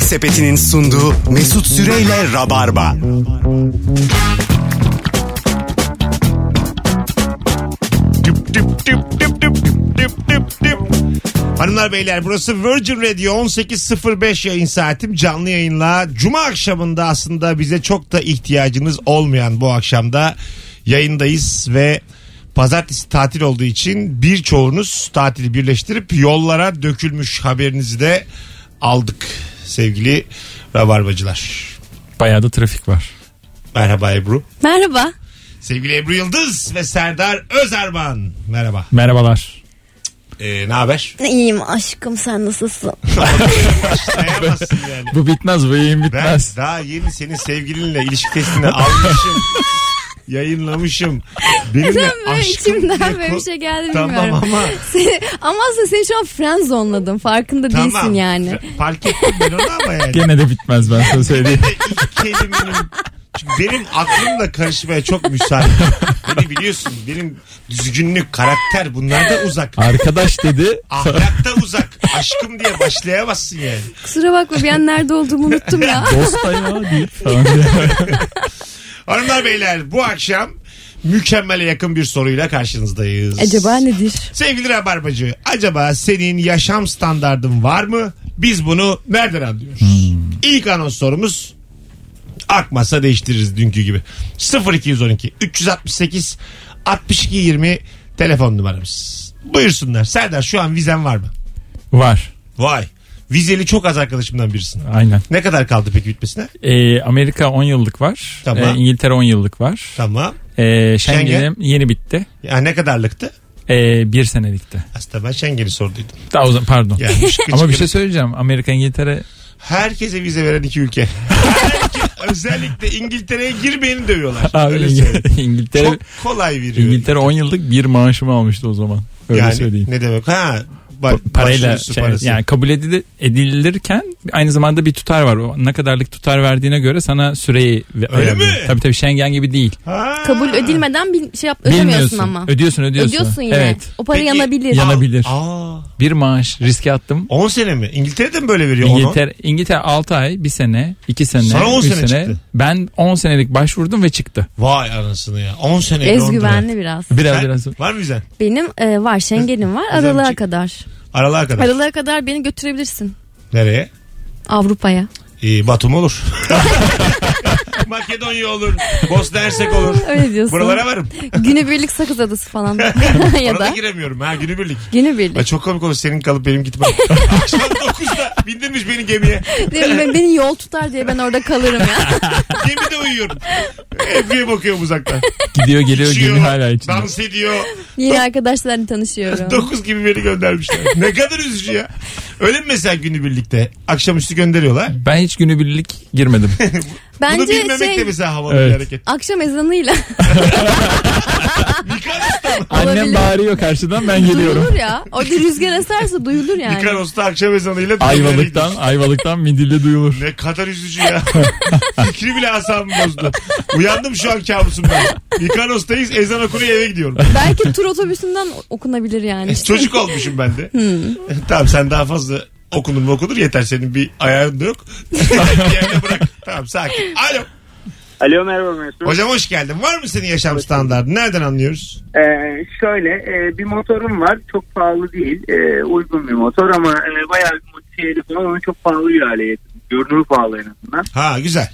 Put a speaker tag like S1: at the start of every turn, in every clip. S1: Sepeti'nin sunduğu Mesut Süreyle Rabarba.
S2: Düp düp düp düp düp düp düp düp düp. Hanımlar beyler burası Virgin Radio 18.05 yayın saatim canlı yayınla. Cuma akşamında aslında bize çok da ihtiyacınız olmayan bu akşamda yayındayız ve pazartesi tatil olduğu için birçoğunuz tatili birleştirip yollara dökülmüş haberinizi de aldık sevgili rabarbacılar.
S3: Bayağı da trafik var.
S2: Merhaba Ebru.
S4: Merhaba.
S2: Sevgili Ebru Yıldız ve Serdar Özerman. Merhaba.
S3: Merhabalar.
S2: Ee, ne haber?
S4: İyiyim aşkım sen nasılsın?
S2: Sayamazsın yani.
S3: Bu bitmez bu yayın
S2: Ben
S3: bitmez.
S2: daha yeni senin sevgilinle ilişki testini almışım. yayınlamışım. Benimle
S4: Neden böyle
S2: aşkım
S4: içimden
S2: diye
S4: böyle
S2: ko-
S4: bir şey geldi
S2: Tamam
S4: bilmiyorum.
S2: ama
S4: Seni- ama aslında seni şu an friend zoneladım farkında değilsin
S2: tamam.
S4: yani.
S2: Fark ettim ben onu ama yani.
S3: Gene de bitmez ben sana söyleyeyim.
S2: İlk kelimenin çünkü benim aklım da karışmaya çok müsait. Beni biliyorsun benim düzgünlük, karakter bunlar da uzak.
S3: Arkadaş dedi.
S2: Ahlak da uzak. Aşkım diye başlayamazsın yani.
S4: Kusura bakma bir an nerede olduğumu unuttum ya.
S3: Dost ayağı deyip falan diye.
S2: Hanımlar beyler bu akşam mükemmele yakın bir soruyla karşınızdayız.
S4: Acaba nedir?
S2: Sevgili Rabarbacı acaba senin yaşam standardın var mı? Biz bunu nereden anlıyoruz? İlk anons sorumuz akmasa değiştiririz dünkü gibi. 0212 368 62 20 telefon numaramız. Buyursunlar. Serdar şu an vizen var mı?
S3: Var.
S2: Vay. Vizeli çok az arkadaşımdan birisin.
S3: Aynen.
S2: Ne kadar kaldı peki bitmesine?
S3: Ee, Amerika 10 yıllık var.
S2: Tamam.
S3: Ee, İngiltere 10 yıllık var.
S2: Tamam.
S3: Ee, Schengen'im
S2: Schengen.
S3: yeni bitti.
S2: Ya ne kadarlıktı?
S3: Ee, bir senelikti.
S2: Aslında ben Schengen'i sorduydum.
S3: Daha uzun pardon.
S2: Yani şıkı
S3: Ama bir
S2: şıkı-
S3: şey söyleyeceğim. Amerika İngiltere
S2: Herkese vize veren iki ülke. Herke- özellikle İngiltere'ye girmeyeni dövüyorlar.
S3: Abi,
S2: Öyle
S3: İng-
S2: söyleyeyim.
S3: İngiltere
S2: Çok kolay veriyor.
S3: İngiltere 10 yıllık bir maaşımı almıştı o zaman. Öyle
S2: yani
S3: söyleyeyim.
S2: ne demek? Ha, ba-
S3: Pa- parayla
S2: başvurusu
S3: şey,
S2: parası.
S3: yani kabul edil- edilirken aynı zamanda bir tutar var. O ne kadarlık tutar verdiğine göre sana süreyi ve-
S2: Öyle
S3: ayarlıyor.
S2: mi?
S3: Tabii tabii Schengen gibi değil.
S2: Ha.
S4: Kabul ödilmeden bir şey yap ödemiyorsun ama.
S3: Ödüyorsun ödüyorsun.
S4: Ödüyorsun yine.
S3: Evet.
S4: O para
S2: Peki-
S4: yanabilir.
S3: Yana- Yanabilir.
S2: Aa,
S3: Bir maaş riske attım.
S2: 10 sene mi? İngiltere'de mi böyle veriyor onu?
S3: İngiltere, İngiltere 6 ay, 1 sene, 2 sene,
S2: Sana 10
S3: 3
S2: sene
S3: sene.
S2: çıktı.
S3: Ben 10 senelik başvurdum ve çıktı.
S2: Vay anasını ya. 10 sene
S4: Ezgüvenli biraz.
S3: Biraz
S2: Sen,
S3: biraz.
S2: Var mı vizen?
S4: Benim e, var Schengen'im var
S2: Güzel bir
S4: aralığa
S2: şey.
S4: kadar.
S2: Aralığa kadar.
S4: Aralığa kadar beni götürebilirsin
S2: Nereye?
S4: Avrupa'ya.
S2: Ee, Batum olur. Makedonya olur. Bosna Hersek olur.
S4: Öyle diyorsun.
S2: Buralara varım.
S4: Günübirlik Sakız Adası falan ya
S2: Orada
S4: da
S2: giremiyorum. Ha günübirlik. Ay
S4: günübirlik.
S2: çok komik olur senin kalıp benim gitmem. Akşam 9'da bindirmiş beni gemiye.
S4: Değil mi? Beni yol tutar diye ben orada kalırım ya.
S2: Gemide uyuyorum. Ebru'ya bakıyorum uzaktan.
S3: Gidiyor geliyor
S2: İçiyor,
S3: gemi hala içinde.
S2: dans ediyor.
S4: Yeni arkadaşlarla tanışıyorum.
S2: 9 gibi beni göndermişler. Ne kadar üzücü ya. Öyle mi mesela günü birlikte? Akşamüstü gönderiyorlar.
S3: Ben hiç günübirlik girmedim.
S2: Bunu
S4: Bence
S2: bilmemek de
S4: şey
S2: mesela havalı bir
S3: Evet.
S2: hareket.
S4: akşam ezanıyla
S2: Mikanos'ta mı?
S3: Annem
S4: Olabilir.
S3: bağırıyor karşıdan ben geliyorum.
S4: duyulur ya. O da rüzgar eserse duyulur yani.
S2: Mikanos'ta akşam ezanıyla. bir yere
S3: Ayvalık'tan,
S2: gidiyorsun.
S3: Ayvalık'tan Midilli duyulur.
S2: Ne kadar üzücü ya. Fikri bile asabımı bozdu. Uyandım şu an kabusumdan. Mikanos'tayız ezan okunuyor eve gidiyorum.
S4: Belki tur otobüsünden okunabilir yani. Hmm.
S2: Çocuk olmuşum ben de. tamam sen daha fazla okunur mu okunur yeter senin bir ayarın da yok. Yerine bırak. Tamam sakin. Alo.
S5: Alo merhaba Mesut.
S2: Hocam hoş geldin. Var mı senin yaşam standartın? Nereden anlıyoruz?
S5: Ee, şöyle e, bir motorum var çok pahalı değil e, uygun bir motor ama e, bayağı bir modifiye falan ama çok pahalı bir hale getirdim. Görünür pahalı en azından.
S2: Ha güzel.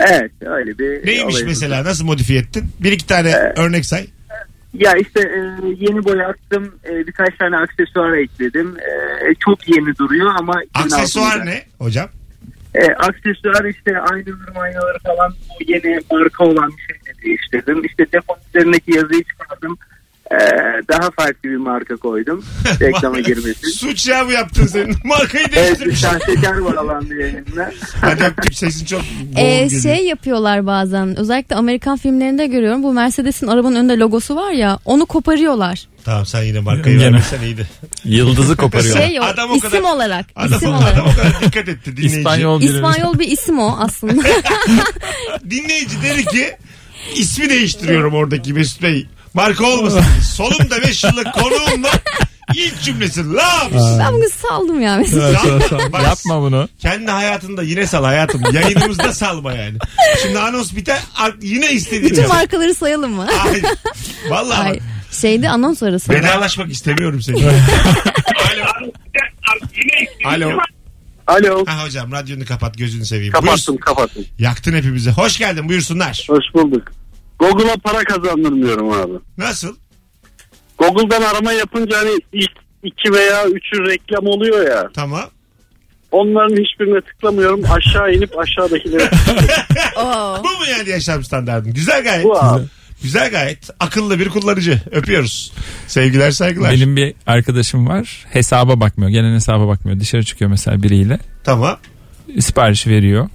S5: Evet öyle bir
S2: Neymiş
S5: olayım.
S2: mesela? Nasıl modifiye ettin? Bir iki tane
S5: Ee,
S2: örnek say.
S5: Ya işte e, yeni boyattım e, birkaç tane aksesuar ekledim. E, çok yeni duruyor ama. 2006'da.
S2: Aksesuar ne hocam?
S5: E, aksesuar işte aynaları aynaları falan bu yeni marka olan bir şeyle değiştirdim. İşte deponun üzerindeki yazıyı çıkardım. E, daha farklı bir marka koydum. Reklama girmesin.
S2: Suç ya bu yaptığın senin. Markayı
S5: Evet bir
S2: değiştirmiş.
S5: şahsekar var alan bir yayında.
S2: Hadi öptüm sesin çok boğuk
S4: Ee,
S2: geliyor.
S4: şey yapıyorlar bazen özellikle Amerikan filmlerinde görüyorum bu Mercedes'in arabanın önünde logosu var ya onu koparıyorlar.
S2: Tamam sen yine markayı
S3: Gene.
S2: vermesen iyiydi.
S3: Yıldızı koparıyor.
S4: Şey o,
S2: Adam o
S4: isim
S2: kadar-
S4: olarak. isim
S2: Adam,
S4: olarak.
S2: adam o kadar dikkat etti dinleyici.
S3: İspanyol biri.
S4: İspanyol bir isim o aslında.
S2: Dinleyici dedi ki ismi değiştiriyorum oradaki Mesut Bey. Marka olmasın. Solumda 5 yıllık konuğumla İlk cümlesi labs.
S4: Ben bunu saldım ya mesela.
S2: Sal- Bak,
S3: Yapma bunu.
S2: Kendi hayatında yine sal hayatım. Yayınımızda salma yani. Şimdi anons biter ar- yine istediğin.
S4: Bütün
S2: yap.
S4: markaları sayalım mı?
S2: Hayır. Vallahi
S4: Ay,
S2: bak,
S4: şeyde anons arası.
S2: vedalaşmak istemiyorum seni. Alo. Alo.
S5: Alo.
S2: Ha hocam radyonu kapat gözünü seveyim.
S5: Kapattım
S2: Buyursun.
S5: kapattım.
S2: Yaktın hepimizi. Hoş geldin buyursunlar.
S5: Hoş bulduk. Google'a para kazandırmıyorum abi.
S2: Nasıl?
S5: Google'dan arama yapınca hani ilk iki veya üçü reklam oluyor ya.
S2: Tamam.
S5: Onların hiçbirine tıklamıyorum. Aşağı inip aşağıdakileri
S4: Oo.
S2: Bu mu yani yaşam standartın? Güzel gayet.
S5: bu abi.
S2: Güzel gayet. Akıllı bir kullanıcı. Öpüyoruz. Sevgiler saygılar.
S3: Benim bir arkadaşım var. Hesaba bakmıyor. Gelen hesaba bakmıyor. Dışarı çıkıyor mesela biriyle.
S2: Tamam.
S3: Siparişi veriyor.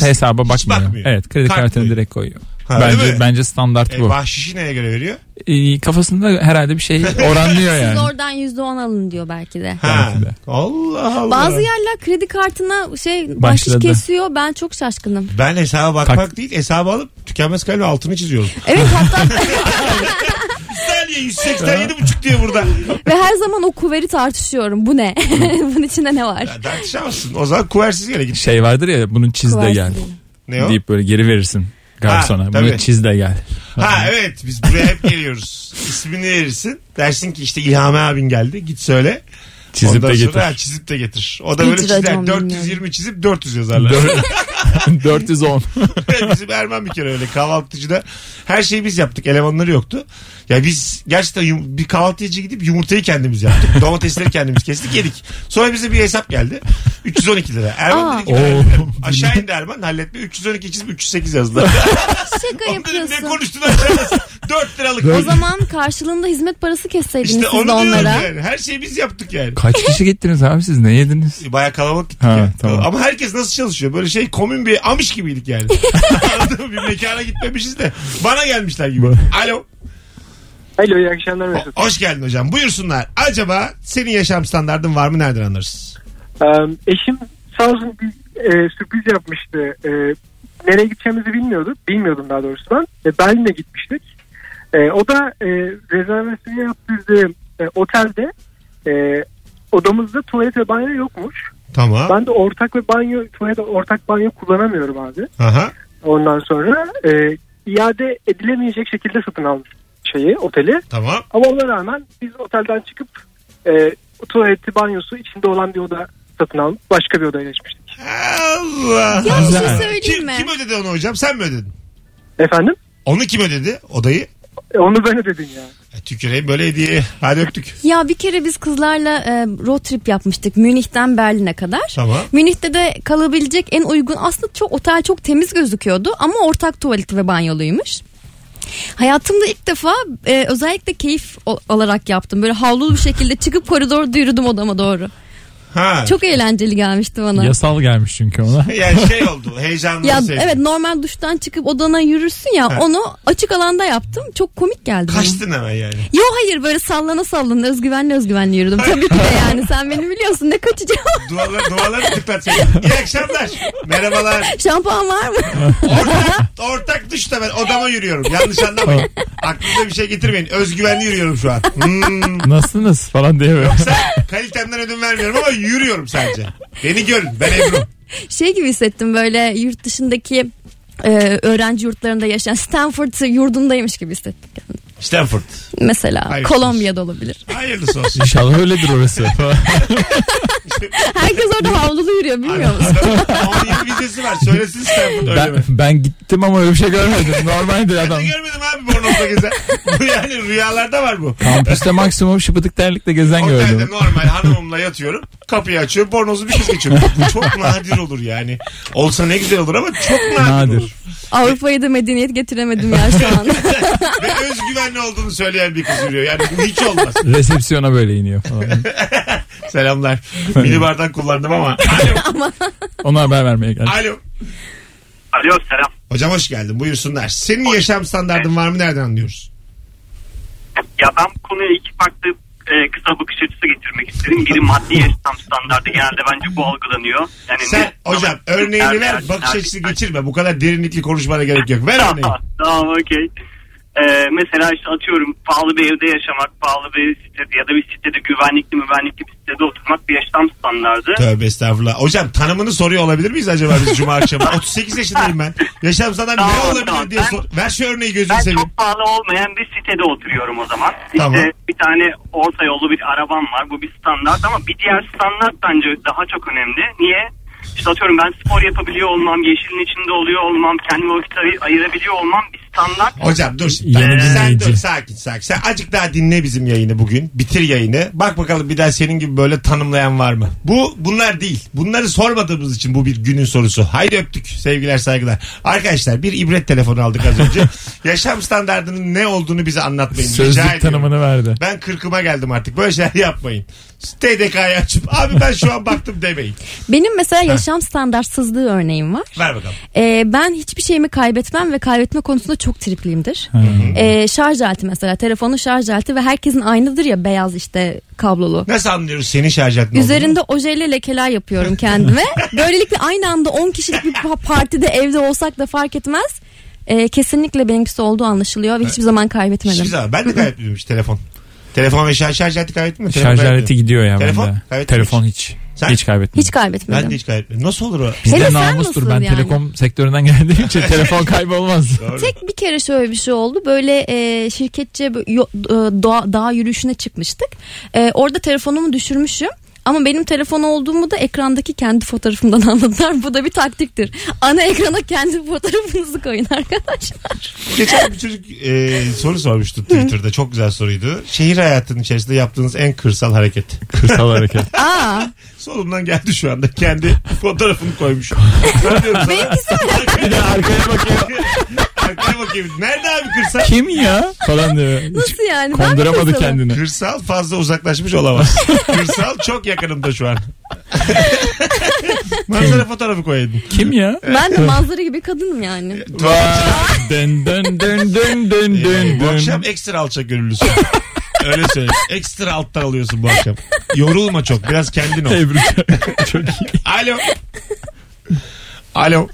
S3: Hesaba bakmıyor.
S2: bakmıyor.
S3: Evet kredi
S2: Kart
S3: kartını
S2: koyuyor.
S3: direkt koyuyor.
S2: Ha, değil
S3: bence
S2: mi?
S3: bence standart
S2: E,
S3: bu.
S2: bahşişi neye göre veriyor?
S3: Ee, kafasında herhalde bir şey oranlıyor
S4: Siz
S3: yani.
S4: oradan %10 alın diyor belki de.
S2: Ha.
S3: Belki de.
S2: Allah Allah.
S4: Bazı yerler kredi kartına şey
S3: Başladı.
S4: bahşiş kesiyor. Ben çok şaşkınım.
S2: Ben hesaba bakmak
S3: Tak-
S2: değil hesabı alıp tükenmez kalbi altını çiziyorum.
S4: Evet hatta
S2: Bir saniye 187,5 diye burada.
S4: ve her zaman o kuveri tartışıyorum. Bu ne? Bunun içinde ne var?
S2: Ya, Tartışamazsın. O zaman kuversiz yere git.
S3: Şey vardır ya bunun çiz de
S4: Kıvarsın
S3: gel.
S4: diye.
S2: Ne o?
S3: Deyip böyle geri verirsin garsona.
S2: Ha, tabii.
S3: bunu çiz de gel.
S2: Ha evet biz buraya hep geliyoruz. İsmini verirsin. Dersin ki işte İlhami abin geldi. Git söyle.
S3: Çizip
S2: Ondan
S3: de
S2: sonra,
S3: getir.
S2: ha, çizip de getir. O da
S4: Hiç
S2: böyle çizer.
S4: racon
S2: 420
S4: bilmiyorum.
S2: çizip 400 yazarlar.
S3: Dör- 410.
S2: Bizim Erman bir kere öyle kahvaltıcıda her şeyi biz yaptık. Elemanları yoktu. Ya biz gerçekten yum- bir kahvaltıcıya gidip yumurtayı kendimiz yaptık. Domatesleri kendimiz kestik yedik. Sonra bize bir hesap geldi. 312 lira. Erman
S4: Aa.
S2: dedi ki "Ben- aşağı indi Erman halletme. 312 çizip 308 yazdı.
S4: Şaka
S2: Oğlum dedim ne
S4: yapıyorsun.
S2: konuştun aşağıda? 4 liralık.
S4: O zaman karşılığında hizmet parası kesseydiniz
S2: işte
S4: siz
S2: onu
S4: de
S2: diyoruz
S4: onlara.
S2: yani. Her şeyi biz yaptık yani.
S3: Kaç kişi gittiniz abi siz ne yediniz?
S2: Baya kalabalık gittik
S3: Ha,
S2: ya.
S3: tamam.
S2: Ama herkes nasıl çalışıyor? Böyle şey komün bir amış gibiydik yani. Anladın mı? bir mekana gitmemişiz de bana gelmişler gibi. Alo.
S5: Alo iyi akşamlar.
S2: O- hoş geldin hocam. Buyursunlar. Acaba senin yaşam standardın var mı? Nereden anlarız?
S5: eşim sağ olsun bir e, sürpriz yapmıştı. E, nereye gideceğimizi bilmiyordu. Bilmiyordum daha doğrusu ben. E, Berlin'e gitmiştik. E, o da e, rezervasyonu yaptırdığı e, otelde e, odamızda tuvalet ve banyo yokmuş.
S2: Tamam.
S5: Ben de ortak ve banyo tuvalet ortak banyo kullanamıyorum abi.
S2: Aha.
S5: Ondan sonra e, iade edilemeyecek şekilde satın almış şeyi oteli.
S2: Tamam.
S5: Ama ona rağmen biz otelden çıkıp e, tuvaleti banyosu içinde olan bir oda satın alıp başka bir odaya geçmiştik.
S2: Allah.
S4: Ya bir şey
S3: Güzel.
S4: söyleyeyim
S2: Kim,
S4: mi?
S2: kim ödedi onu hocam? Sen mi ödedin?
S5: Efendim?
S2: Onu kim ödedi? Odayı?
S5: E, onu ben ödedim ya.
S2: E, Tüküreyim böyle hediye. Hadi öptük.
S4: Ya bir kere biz kızlarla e, road trip yapmıştık Münih'ten Berlin'e kadar.
S2: Tamam.
S4: Münih'te de kalabilecek en uygun aslında çok otel çok temiz gözüküyordu ama ortak tuvaleti ve banyoluymuş. Hayatımda ilk defa e, özellikle keyif o- olarak yaptım. Böyle havlulu bir şekilde çıkıp koridorda yürüdüm odama doğru.
S2: Ha.
S4: Çok eğlenceli gelmişti bana.
S3: Yasal gelmiş çünkü ona.
S2: Yani şey oldu. Heyecanlı
S4: ya
S2: sevdim.
S4: evet normal duştan çıkıp odana yürürsün ya
S2: Ha.
S4: onu açık alanda yaptım. Çok komik geldi. bana.
S2: Kaçtın hemen yani.
S4: Yo hayır böyle sallana sallana özgüvenli özgüvenli yürüdüm. Tabii ki de yani sen beni biliyorsun ne kaçacağım.
S2: Duvarları, duvarları tıklatsaydın. İyi akşamlar. Merhabalar.
S4: Şampuan var mı?
S2: Ortak, ortak duşta ben odama yürüyorum. Yanlış anlamayın. Aklınıza bir şey getirmeyin. Özgüvenli yürüyorum şu an. Hmm.
S3: Nasılsınız falan diye böyle.
S2: Sen kalitemden ödün vermiyorum ama yürüyorum sadece. Beni görün. Ben Ebru.
S4: şey gibi hissettim böyle yurt dışındaki e, öğrenci yurtlarında yaşayan Stanford yurdundaymış gibi hissettim.
S2: Stanford.
S4: Mesela
S2: Hayır.
S4: Kolombiya'da olabilir.
S2: Hayırlısı olsun.
S3: İnşallah öyledir orası.
S4: Herkes orada havlulu yürüyor bilmiyor musun?
S2: Onun yeni vizesi var. Söylesin Stanford öyle
S3: ben,
S2: mi?
S3: ben gittim ama öyle bir şey görmedim. Normaldir
S2: Ben
S3: adam.
S2: de görmedim abi Bornov'da gezen. Bu yani rüyalarda var bu.
S3: Kampüste maksimum şıpıdık terlikle gezen
S2: Otelde
S3: gördüm.
S2: normal hanımımla yatıyorum. Kapıyı açıyor. Bornozu bir kız geçiyor. Bu çok nadir olur yani. Olsa ne güzel olur ama çok nadir,
S3: Nadir.
S2: olur.
S4: Avrupa'ya da medeniyet getiremedim ya şu an.
S2: Ve özgüvenli olduğunu söyleyen bir kız yürüyor. Yani bu hiç olmaz.
S3: Resepsiyona böyle iniyor falan.
S2: Selamlar. Minibardan kullandım ama. Alo.
S3: Ona haber vermeye geldim.
S2: Alo.
S6: Alo selam.
S2: Hocam hoş geldin. Buyursunlar. Senin yaşam standardın var mı? Nereden anlıyoruz?
S6: Ya ben bu konuya iki farklı e, kısa bakış açısı getirmek istedim. Biri maddi yaşam standardı genelde bence bu algılanıyor. Yani
S2: Sen
S6: ne-
S2: hocam
S6: Tamam.
S2: örneğini
S6: Er-
S2: ver.
S6: er-
S2: Bakış
S6: er-
S2: açısı geçirme. Bu kadar derinlikli konuşmana gerek yok. Ver
S6: Tamam,
S2: örneği.
S6: tamam okey. e, mesela işte atıyorum pahalı bir evde yaşamak, pahalı bir sitede ya da bir sitede güvenlikli güvenlikli bir sitede oturmak bir yaşam standardı.
S2: Tövbe estağfurullah. Hocam tanımını soruyor olabilir miyiz acaba biz cuma akşamı? 38 yaşındayım ben. Yaşam sana ne
S6: Tamam,
S2: olabilir
S6: tamam.
S2: diye
S6: Ben-
S2: sor. Ver şu örneği gözünü
S6: Ben
S2: seveyim.
S6: çok pahalı olmayan bir sitede oturuyorum o zaman. İşte
S2: Tamam.
S6: bir tane orta yollu bir arabam var. Bu bir standart ama bir diğer standart bence daha çok önemli. Niye? İşte atıyorum ben spor yapabiliyor olmam, yeşilin içinde oluyor olmam, kendime vakit ay- ayırabiliyor olmam bir standart.
S2: Hocam dur şimdi.
S3: Yeni
S2: sen
S3: dinleyici.
S2: dur sakin sakin. Sen acık daha dinle bizim yayını bugün. Bitir yayını. Bak bakalım bir daha senin gibi böyle tanımlayan var mı? Bu bunlar değil. Bunları sormadığımız için bu bir günün sorusu. Haydi öptük. Sevgiler saygılar. Arkadaşlar bir ibret telefonu aldık az önce. Yaşam standartının ne olduğunu bize anlatmayın. Rica
S3: Sözlük
S2: ediyorum.
S3: tanımını verdi.
S2: Ben kırkıma geldim artık. Böyle şeyler yapmayın. TDK'yı açıp abi ben şu an baktım demeyin.
S4: Benim mesela yaşam standartsızlığı örneğim var.
S2: Ver bakalım.
S4: Ee, ben hiçbir şeyimi kaybetmem ve kaybetme konusunda çok tripliyimdir. Ee, şarj aleti mesela telefonun şarj aleti ve herkesin aynıdır ya beyaz işte kablolu.
S2: Nasıl anlıyoruz senin şarj altın
S4: Üzerinde ojeyle lekeler yapıyorum kendime. Böylelikle aynı anda 10 kişilik bir pa- partide evde olsak da fark etmez. Ee, kesinlikle benimkisi olduğu anlaşılıyor ve hiçbir zaman
S2: olduğunu?
S4: kaybetmedim.
S2: Hiçbir zaman. Ben de kaybetmiyorum hiç telefon. Telefon ve şarj, şarj aleti kaybettin mi? Telefon
S3: Şarj
S2: kaybetmiyorum.
S3: aleti gidiyor ya
S2: Telefon?
S3: bende.
S2: Kaybetmiş.
S3: Telefon hiç.
S2: Sen?
S3: Hiç kaybetmedim.
S4: Hiç kaybetmedim.
S2: Ben de hiç kaybetmiyorum. Nasıl olur o?
S4: Hele
S3: Bizde
S4: sen
S3: namustur.
S4: nasıl
S3: Ben
S4: yani?
S3: telekom sektöründen geldiğim için telefon kaybolmaz.
S4: Tek bir kere şöyle bir şey oldu. Böyle e, şirketçe bu- yo- e, doğa, dağ yürüyüşüne çıkmıştık. E, orada telefonumu düşürmüşüm. Ama benim telefon olduğumu da ekrandaki kendi fotoğrafımdan anladılar. Bu da bir taktiktir. Ana ekrana kendi fotoğrafınızı koyun arkadaşlar.
S2: Geçen bir çocuk e, soru sormuştu Twitter'da. Çok güzel soruydu. Şehir hayatının içerisinde yaptığınız en kırsal hareket.
S3: Kırsal hareket.
S4: Aa,
S2: Solumdan geldi şu anda. Kendi fotoğrafını koymuş. Ben diyorum sana.
S4: benimkisi
S2: Arkaya, arkaya bakıyor. arkaya bakayım. Nerede abi kırsal?
S3: Kim ya? Falan diyor. Hiç
S4: nasıl yani? Ben mi
S3: Konduramadı
S4: kızım?
S3: kendini.
S2: Kırsal fazla uzaklaşmış olamaz. Kırsal çok yakınımda şu an. Manzara fotoğrafı koyaydın.
S3: Kim ya?
S4: Ben de manzara gibi kadınım
S2: E,
S4: yani.
S3: dön dön dön dön dön
S2: Ee,
S3: dön.
S2: bu akşam ekstra alçak gönüllüsün. Öyle söyle. Ekstra alttan alıyorsun bu akşam. Yorulma çok. Biraz kendin ol.
S3: Tebrik. Çok iyi.
S2: Alo. Alo.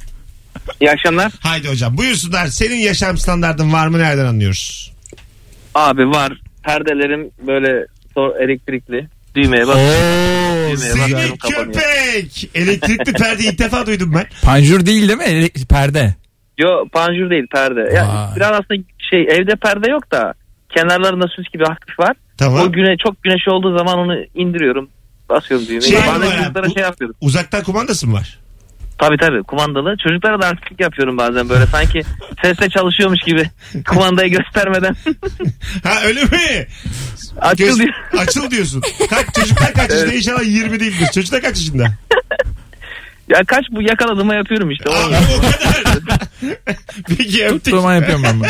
S5: İyi akşamlar.
S2: Haydi hocam buyursunlar. Senin yaşam standardın var mı? Nereden anlıyoruz?
S5: Abi var. Perdelerim böyle sor- elektrikli. Düğmeye bas.
S3: Oo.
S5: Düğmeye bas.
S2: Seni
S5: kapanıyor.
S2: köpek. Elektrikli perde ilk defa duydum ben.
S3: Panjur değil değil mi? Ele- Perde.
S5: Yo panjur değil perde. Ya,
S3: Vay.
S5: biraz aslında şey evde perde yok da kenarlarında süs gibi hafif var.
S2: Tamam.
S5: O güne çok güneş olduğu zaman onu indiriyorum. Basıyorum düğmeyi.
S2: Şey
S5: bazen
S2: var ya,
S5: çocuklara
S2: bu-
S5: şey yapıyorum.
S2: Uzaktan kumandası mı var?
S5: Tabii tabii kumandalı. Çocuklara da artistlik yapıyorum bazen böyle sanki sesle çalışıyormuş gibi. Kumandayı göstermeden.
S2: Ha öyle mi?
S5: Açıl
S2: Göz-
S5: diyor.
S2: açıl diyorsun. Kaç, çocuklar kaç yaşında? İnşallah 20 değildir. Çocuklar kaç yaşında?
S5: Ya kaç bu yakaladığıma yapıyorum işte. O-
S2: Aa, o kadar. Peki öptük.
S3: Tuttuğuma yapıyorum ben bunu.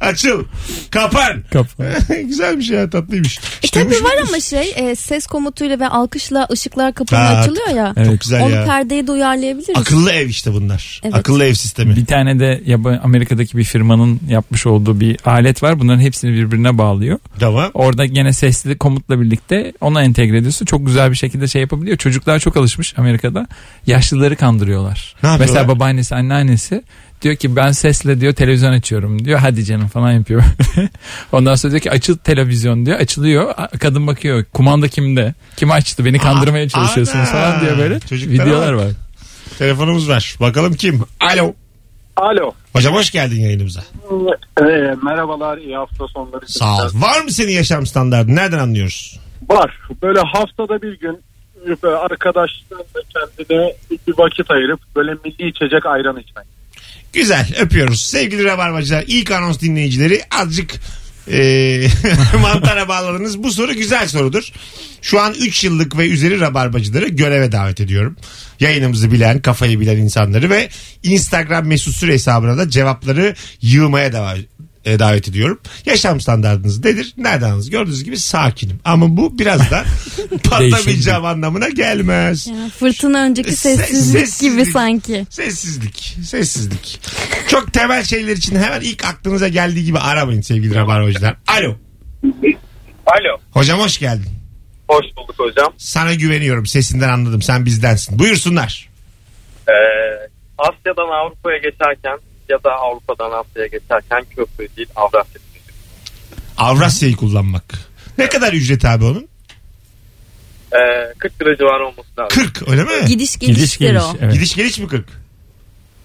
S2: Açıl. Kapan.
S3: Kafa.
S2: Güzelmiş şey ya tatlıymış.
S4: E
S2: İşte
S4: tabii
S2: bu-
S4: var ama şey e, ses komutuyla ve alkışla ışıklar kapanıyor
S2: Aa,
S4: açılıyor ya.
S3: Evet.
S2: Çok güzel
S4: Onu
S2: ya.
S4: perdeye de uyarlayabiliriz.
S2: Akıllı ev işte bunlar.
S4: Evet.
S2: Akıllı ev sistemi.
S3: Bir tane de yaba- Amerika'daki bir firmanın yapmış olduğu bir alet var. Bunların hepsini birbirine bağlıyor.
S2: Tamam.
S3: Orada gene sesli komutla birlikte ona entegre ediyorsun. Çok güzel bir şekilde şey yapabiliyor. Çocuklar çok alışmış Amerika'da. Yaşlıları kandırıyorlar.
S2: Ne yapıyorlar?
S3: Mesela babaannesi, anneannesi diyor ki ben sesle diyor televizyon açıyorum diyor. Hadi canım falan yapıyor. Ondan sonra diyor ki açıl televizyon diyor. Açılıyor. A- Kadın bakıyor. Kumanda kimde? Kim açtı? Beni kandırmaya
S2: ana.
S3: çalışıyorsunuz falan diyor böyle.
S2: Çocuklara
S3: videolar var.
S2: Telefonumuz var. Bakalım kim? Alo.
S7: Alo.
S2: Hocam hoş geldin yayınımıza.
S7: Ee, merhabalar iyi hafta sonları.
S2: Sağ ol. Var mı senin yaşam standartın? Nereden anlıyoruz?
S7: Var. Böyle haftada bir gün böyle arkadaşlarla kendine bir vakit ayırıp böyle milli içecek ayran içmek.
S2: Güzel öpüyoruz. Sevgili Rabarbacılar ilk anons dinleyicileri azıcık e, mantara bağladınız. Bu soru güzel sorudur. Şu an 3 yıllık ve üzeri Rabarbacıları göreve davet ediyorum. Yayınımızı bilen, kafayı bilen insanları ve Instagram mesut süre hesabına da cevapları yığmaya devam e, davet ediyorum. Yaşam standartınız nedir? Nereden alınız? Gördüğünüz gibi sakinim. Ama bu biraz da patlamayacağım anlamına gelmez.
S4: Ya, fırtına önceki
S2: Ses-
S4: sessizlik, gibi
S2: sessizlik.
S4: sanki.
S2: Sessizlik. Sessizlik. Çok temel şeyler için hemen ilk aklınıza geldiği gibi aramayın sevgili rabarbacılar. Alo.
S7: Alo.
S2: Hocam hoş geldin.
S7: Hoş bulduk hocam.
S2: Sana güveniyorum. Sesinden
S8: E,
S2: anladım. Sen bizdensin. Buyursunlar.
S5: Asya'dan Avrupa'ya geçerken
S8: ya da Avrupa'dan Asya'ya geçerken köprü değil Avrasya Tüneli.
S2: Avrasya'yı kullanmak. Ne kadar ücret abi onun?
S8: Ee, 40 lira civarı olması lazım.
S2: 40 öyle mi?
S4: Gidiş geliştir o.
S3: evet.
S2: Gidiş geliş mi 40?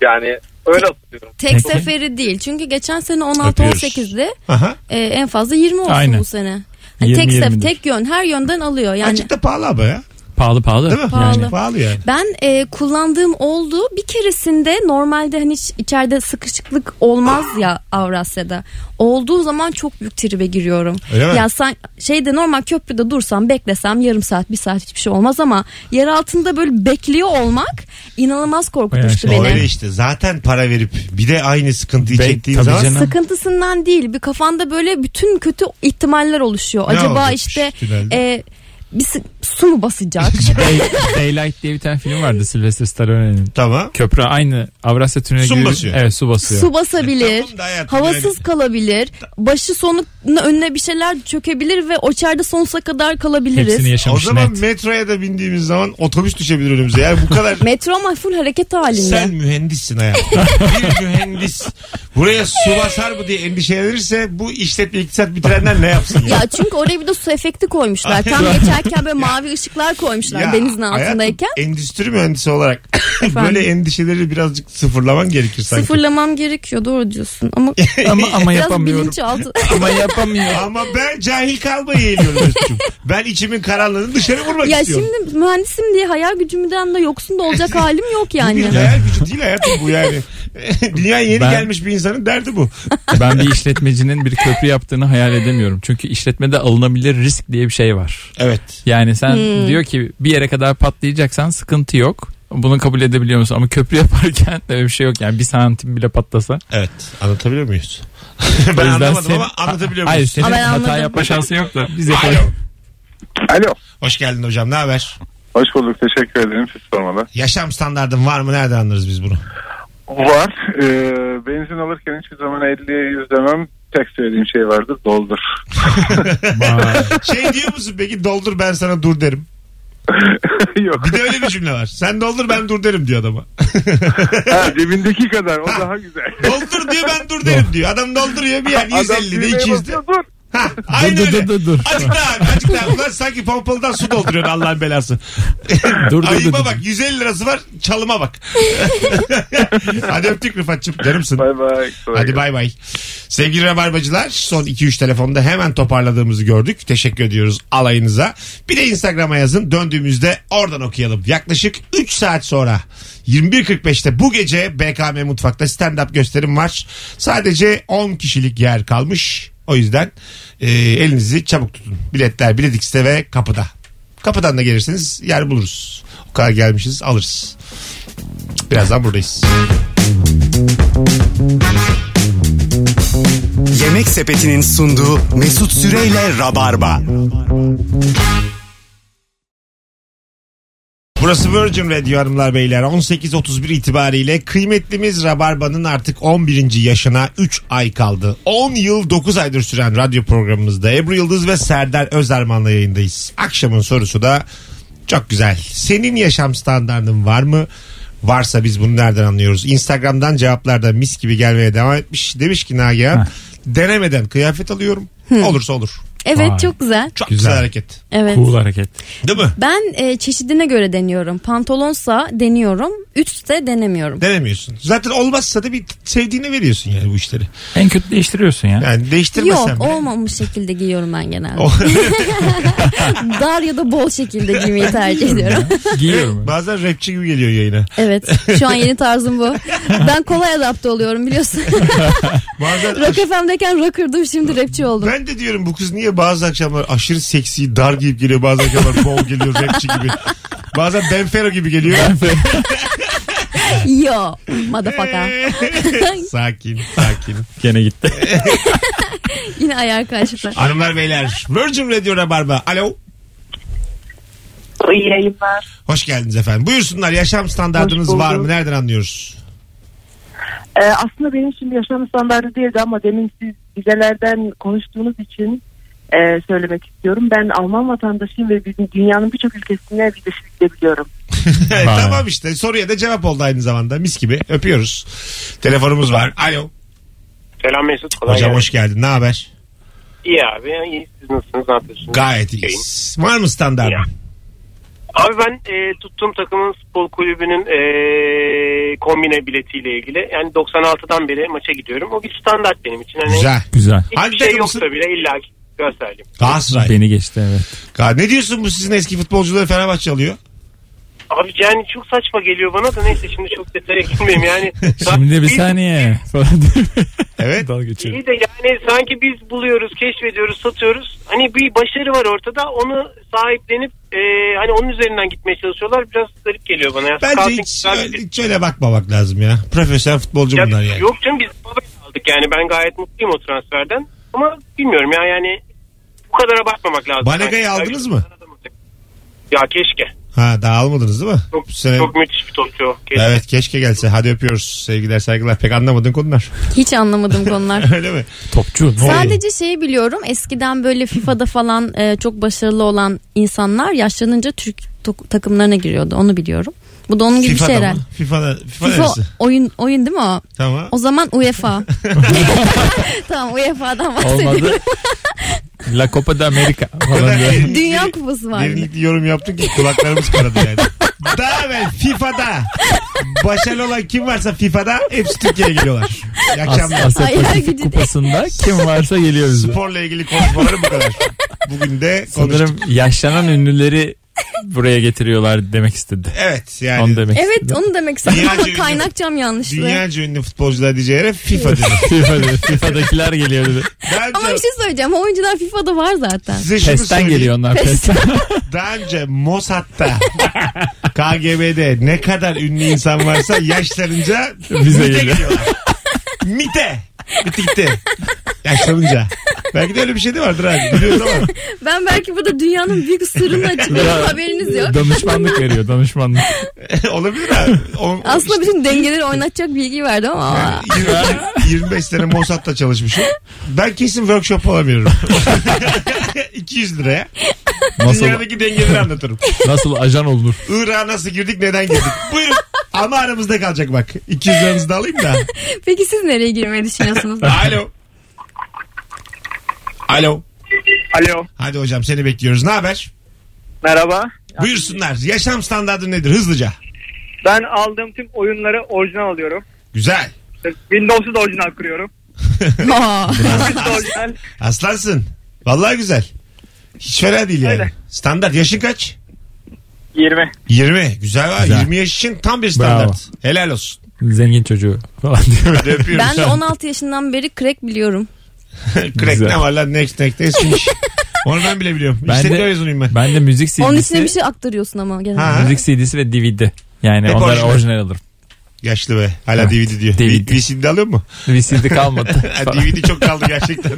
S8: Yani öyle hatırlıyorum.
S4: Tek
S3: Peki.
S4: seferi değil. Çünkü geçen sene
S2: Öpüyoruz.
S4: 16-18'de
S2: Aha.
S4: e, en fazla 20 olsun
S3: Aynen.
S4: bu sene. Hani
S3: 20,
S4: tek sef,
S3: 20'dir.
S4: tek yön her yönden alıyor. Yani
S2: Azıcık da pahalı abi ya.
S3: Pahalı pahalı.
S2: Değil mi?
S4: Pahalı.
S2: Yani. Pahalı yani.
S4: Ben e, kullandığım oldu. Bir keresinde normalde hani hiç içeride sıkışıklık olmaz ya Avrasya'da. Olduğu zaman çok büyük tribe giriyorum.
S2: Öyle mi?
S4: ya sen şeyde normal köprüde dursam beklesem yarım saat bir saat hiçbir şey olmaz ama yer altında böyle bekliyor olmak inanılmaz korkutmuştu
S3: Bayağı
S4: beni.
S2: Öyle işte zaten para verip bir de aynı sıkıntıyı
S3: Be-
S2: çektiğim
S3: tabii
S2: zaman
S3: canım.
S4: Sıkıntısından değil bir kafanda böyle bütün kötü ihtimaller oluşuyor.
S2: Ne
S4: Acaba
S2: olacakmış
S4: işte
S2: finalde?
S4: e, bir sı- su mu basacak?
S3: Day- Daylight diye bir tane film vardı Sylvester Stallone'nin.
S2: tamam.
S3: Köprü aynı Avrasya Tüneli
S2: Su
S3: gibi.
S2: basıyor.
S3: Evet su basıyor.
S4: su basabilir.
S2: Tamam da hayatım
S4: havasız
S2: yani.
S4: kalabilir. Başı sonu önüne bir şeyler çökebilir ve o içeride sonsuza kadar kalabiliriz.
S3: Hepsini
S2: O
S3: yaşamış
S2: zaman
S3: net.
S2: metroya da bindiğimiz zaman otobüs düşebilir önümüze. Yani bu kadar
S4: Metro ama full hareket halinde.
S2: sen mühendissin hayatım. bir mühendis buraya su basar mı diye endişelenirse bu işletme iktisat bitirenler ne yapsın ya?
S4: Ya çünkü oraya bir de su efekti koymuşlar. Tam geçerken böyle mavi ışıklar koymuşlar
S2: Ya
S4: denizin
S2: hayatım,
S4: altındayken.
S2: endüstri mühendisi olarak
S4: Efendim?
S2: böyle endişeleri birazcık sıfırlaman gerekir sanki.
S4: Sıfırlamam gerekiyor doğru diyorsun ama
S3: Ama, ama
S4: biraz
S3: yapamıyorum.
S4: bilinçaltı.
S3: ama yapamıyorum.
S2: Ama ben cahil kalmayı eğiliyorum Mesut'cum. Ben içimin karanlığını dışarı vurmak
S4: ya
S2: istiyorum.
S4: şimdi mühendisim diye hayal gücümden de yoksun da olacak halim yok
S2: Bu
S4: yani.
S2: bir hayal gücü değil hayatım bu yani. Dünya yeni
S3: Ben-
S2: gelmiş bir insanın derdi bu.
S3: Ben bir işletmecinin bir köprü yaptığını hayal edemiyorum. Çünkü işletmede alınabilir risk diye bir şey var.
S2: Evet.
S3: Yani sen
S4: Hmm.
S3: diyor ki bir yere kadar patlayacaksan sıkıntı yok. Bunu kabul edebiliyor musun? Ama köprü yaparken de öyle bir şey yok. Yani bir santim bile patlasa.
S2: Evet. Anlatabiliyor muyuz?
S3: O
S2: ben
S3: yüzden
S2: anlamadım
S3: senin-
S2: ama anlatabiliyor
S3: Hayır
S2: muyuz?
S3: senin
S4: Ama ben
S3: hata
S4: anladım.
S3: yapma şansı yok da biz
S2: Alo.
S3: yapalım.
S9: Alo.
S2: Hoş geldin hocam ne haber?
S9: Hoş bulduk. Teşekkür ederim. Siz sormalı.
S2: Yaşam standardın var mı? Nereden anlarız biz bunu?
S9: Var. Ee, benzin alırken hiçbir zaman 50'ye 100 demem. Tek söylediğim şey vardır. Doldur.
S2: Şey diyor musun peki doldur ben sana dur derim.
S9: Yok.
S2: Bir de öyle bir cümle var. Sen doldur ben dur derim diyor adama.
S9: Ha, cebindeki kadar. O daha güzel.
S2: doldur diyor ben dur derim diyor. Adam dolduruyor bir yer
S9: Adam
S2: 150'de
S9: düğmeye
S2: 200'de.
S9: basıyor, Dur.
S2: Ha, aynen
S3: Dur, dur,
S2: öyle.
S3: dur, dur.
S2: Azıcık daha abi, azıcık daha. Ulan sanki pompalıdan su dolduruyorsun Allah'ın belası.
S3: Dur, dur,
S2: Ayıba
S3: dur.
S2: bak 150 lirası var çalıma bak. Hadi öptük Rıfat'cığım canımsın.
S9: Bay bay. Kolay
S2: Hadi bay bay. Sevgili Rabarbacılar son 2-3 telefonda hemen toparladığımızı gördük. Teşekkür ediyoruz alayınıza. Bir de Instagram'a yazın döndüğümüzde oradan okuyalım. Yaklaşık 3 saat sonra 21.45'te bu gece BKM Mutfak'ta stand-up gösterim var. Sadece 10 kişilik yer kalmış. O yüzden e, elinizi çabuk tutun. Biletler Biletix'te ve kapıda. Kapıdan da gelirseniz yer buluruz. O kadar gelmişiz alırız. Birazdan buradayız.
S1: Yemek Sepeti'nin sunduğu Mesut Süreyle Rabarba.
S2: Burası Virgin Radio hanımlar beyler 18.31 itibariyle kıymetlimiz Rabarba'nın artık 11. yaşına 3 ay kaldı. 10 yıl 9 aydır süren radyo programımızda Ebru Yıldız ve Serdar Özerman'la yayındayız. Akşamın sorusu da çok güzel. Senin yaşam standartın var mı? Varsa biz bunu nereden anlıyoruz? Instagram'dan cevaplar da mis gibi gelmeye devam etmiş. Demiş ki Nagihan
S3: Heh.
S2: denemeden kıyafet alıyorum. Olursa olur.
S4: Evet
S3: Vay.
S4: çok güzel.
S2: Çok güzel,
S3: Güzel.
S2: hareket.
S4: Evet.
S3: Cool hareket.
S2: Değil mi?
S4: Ben e, çeşidine göre deniyorum. Pantolonsa deniyorum, üstse denemiyorum.
S2: Denemiyorsun. Zaten olmazsa da bir sevdiğine veriyorsun yani bu işleri.
S3: En kötü değiştiriyorsun ya.
S2: Yani değiştirmesen
S4: Yok
S2: bile.
S4: olmamış şekilde giyiyorum ben genelde.
S2: O-
S4: Dar ya da bol şekilde giymeyi tercih ediyorum.
S3: Giyiyorum.
S2: Bazen rapçi gibi geliyor yayına.
S4: evet şu an yeni tarzım bu. Ben kolay adapte oluyorum biliyorsun.
S2: Bazen
S4: Rock FM'deyken rockerdım şimdi rapçi oldum.
S2: ben de diyorum bu kız niye bazı akşamlar aşırı seksi dar giyip geliyor bazı akşamlar bol geliyor rapçi gibi. Bazen Benfero gibi geliyor.
S4: Yo motherfucker.
S2: sakin sakin.
S3: Gene gitti.
S4: Yine ayağa kaçtılar.
S2: Hanımlar beyler Virgin Radio Rabarba. Alo.
S10: İyi yayınlar.
S2: Hoş geldiniz efendim. Buyursunlar yaşam
S10: Hoş
S2: standartınız
S10: bulduk.
S2: var mı? Nereden anlıyoruz?
S10: Ee, aslında benim şimdi yaşam standartı değildi ama demin siz vizelerden konuştuğunuz için e, söylemek istiyorum. Ben Alman vatandaşıyım ve bizim dünyanın birçok ülkesine vize gidebiliyorum.
S2: tamam işte soruya da cevap oldu aynı zamanda mis gibi öpüyoruz. Telefonumuz var. Alo.
S11: Selam Mesut. Kolay
S2: Hocam
S11: gelsin.
S2: hoş geldin ne haber?
S11: İyi abi. iyi. Siz nasılsınız? Ne yapıyorsunuz?
S2: Gayet iyiyiz. Var mı standart?
S11: Abi ben e, tuttuğum takımın futbol kulübünün e, kombine biletiyle ilgili. Yani 96'dan beri maça gidiyorum. O bir standart benim için. Hani
S2: Güzel.
S3: Güzel.
S11: Hiçbir şey yoksa bile illa ki Galatasaraylıyım.
S2: Galatasaray.
S3: Beni geçti evet.
S2: Ga- Ne diyorsun bu sizin eski futbolcuları Fenerbahçe alıyor?
S11: Abi yani çok saçma geliyor bana da neyse şimdi çok detaya girmeyeyim yani.
S3: Şimdi bir saniye. Falan diye.
S2: Evet.
S3: Dalga geçiyorum.
S11: İyi de yani sanki biz buluyoruz, keşfediyoruz, satıyoruz. Hani bir başarı var ortada. Onu sahiplenip e, hani onun üzerinden gitmeye çalışıyorlar. Biraz garip geliyor bana. Ya.
S2: Bence
S11: Scouting
S2: hiç,
S11: güzel bir
S2: öyle- hiç öyle bakmamak lazım ya. Profesyonel futbolcu
S11: Ya
S2: bunlar yani.
S11: Yok canım biz Babel'i aldık yani ben gayet mutluyum o transferden. Ama bilmiyorum ya yani bu kadara bakmamak lazım.
S2: Banega'yı
S11: Yani-
S2: aldınız mı?
S11: Ya keşke.
S2: Ha daha almadınız değil mi?
S11: Çok,
S2: Bu sene-
S11: çok müthiş bir topçu. o. Keşke.
S2: Evet keşke gelse. Hadi öpüyoruz. Sevgiler saygılar. Pek anlamadığın konular.
S4: Hiç anlamadım konular.
S2: Öyle mi?
S3: Topçu.
S4: Sadece şeyi biliyorum eskiden böyle FIFA'da falan e, çok başarılı olan insanlar yaşlanınca Türk to- takımlarına giriyordu onu biliyorum. Bu da onun gibi bir şey herhalde.
S2: mı? FIFA'da. FIFA,
S4: FIFA
S2: neresi?
S4: oyun oyun değil mi o?
S2: Tamam.
S4: O zaman UEFA. tamam UEFA'dan bahsediyorum.
S3: Olmadı. La Copa de America falan
S2: kadar
S3: diye.
S2: derinlikli-
S4: Dünya kupası var.
S2: Derinlikli yorum yaptık ki kulaklarımız kanadı yani. Daha evvel FIFA'da başarılı olan kim varsa FIFA'da hepsi Türkiye'ye geliyorlar. İyi
S3: As-
S2: akşamlar.
S3: Asya
S4: Ayağa
S3: Pasifik
S4: gidiyor.
S3: Kupası'nda kim varsa geliyor bize.
S2: Sporla ilgili konuşmalarım bu kadar. Bugün de konuştuk.
S3: Sanırım yaşlanan ünlüleri buraya getiriyorlar demek istedi.
S2: Evet yani.
S3: Onu demek
S4: Evet
S3: istedi.
S4: onu demek istedim
S2: Dünyaca
S4: ama
S2: ünlü-
S4: kaynakçam yanlıştı.
S2: Dünyaca ünlü futbolcular diyeceği yere FIFA dedi.
S3: FIFA'da, FIFA'dakiler geliyor. dedi.
S2: Daha
S4: Ama bir
S2: önce
S4: şey söyleyeceğim. O oyuncular FIFA'da var zaten.
S2: size şunu
S3: PES'ten
S2: söyleyeyim.
S3: geliyor onlar. PES'ten.
S2: Daha önce Mossad'da KGB'de ne kadar ünlü insan varsa yaşlanınca
S3: Bize
S2: MIT'e
S3: geliyor.
S2: geliyorlar. MIT'e. Bitti gitti. Yaşlanınca. Belki de öyle bir şey de vardır abi. Biliyoruz ama.
S4: Ben belki burada dünyanın büyük sırrını açıklıyorum
S3: Ya,
S4: haberiniz yok.
S3: Danışmanlık veriyor danışmanlık.
S2: Olabilir abi. On-
S4: Aslında bütün dengeleri oynatacak bilgi verdim ama.
S2: Yani 20 25 sene Mossad'da çalışmışım. Ben kesin workshop alamıyorum. 200 liraya.
S3: Nasıl,
S2: Dünyadaki dengeleri anlatırım.
S3: nasıl ajan olur?
S2: Irak'a nasıl girdik neden girdik? Buyurun. Ama aramızda kalacak bak. 200 liranızı da alayım da.
S4: Peki siz nereye girmeyi düşünüyorsunuz?
S2: Alo. Alo.
S5: Alo.
S2: Hadi hocam seni bekliyoruz. Ne haber?
S5: Merhaba.
S2: Buyursunlar. Yaşam standardı nedir hızlıca?
S5: Ben aldığım tüm oyunları orijinal alıyorum.
S2: Güzel.
S5: Windows'u da orijinal kuruyorum.
S4: Aa.
S5: Windows'u da orijinal.
S2: Aslansın. Vallahi güzel. Hiç fena değil yani.
S5: Öyle.
S2: Standart. Yaşın kaç?
S5: 20.
S2: 20. Güzel var.
S3: Güzel.
S2: 20 yaş için tam bir standart. Helal olsun.
S3: Zengin çocuğu falan diyor.
S2: Hadi öpüyoruz.
S4: ben de 16 yaşından beri crack biliyorum.
S2: Crack
S3: Güzel.
S2: ne var lan? Next next nextmiş. Onu ben bile biliyorum.
S3: Ben
S2: İşletme
S3: de-
S2: mezunuyum ben.
S3: Ben de müzik CD'si.
S4: Onun içine bir şey aktarıyorsun ama genelde.
S2: Ha.
S3: Müzik CD'si ve DVD. Yani
S2: Hep
S3: onlar
S2: orijinal.
S3: orijinal, alırım.
S2: Yaşlı be. Hala
S3: Evet.
S2: DVD diyor.
S3: DVD.
S2: VCD alıyor mu?
S3: VCD kalmadı.
S2: Ha, DVD çok kaldı gerçekten.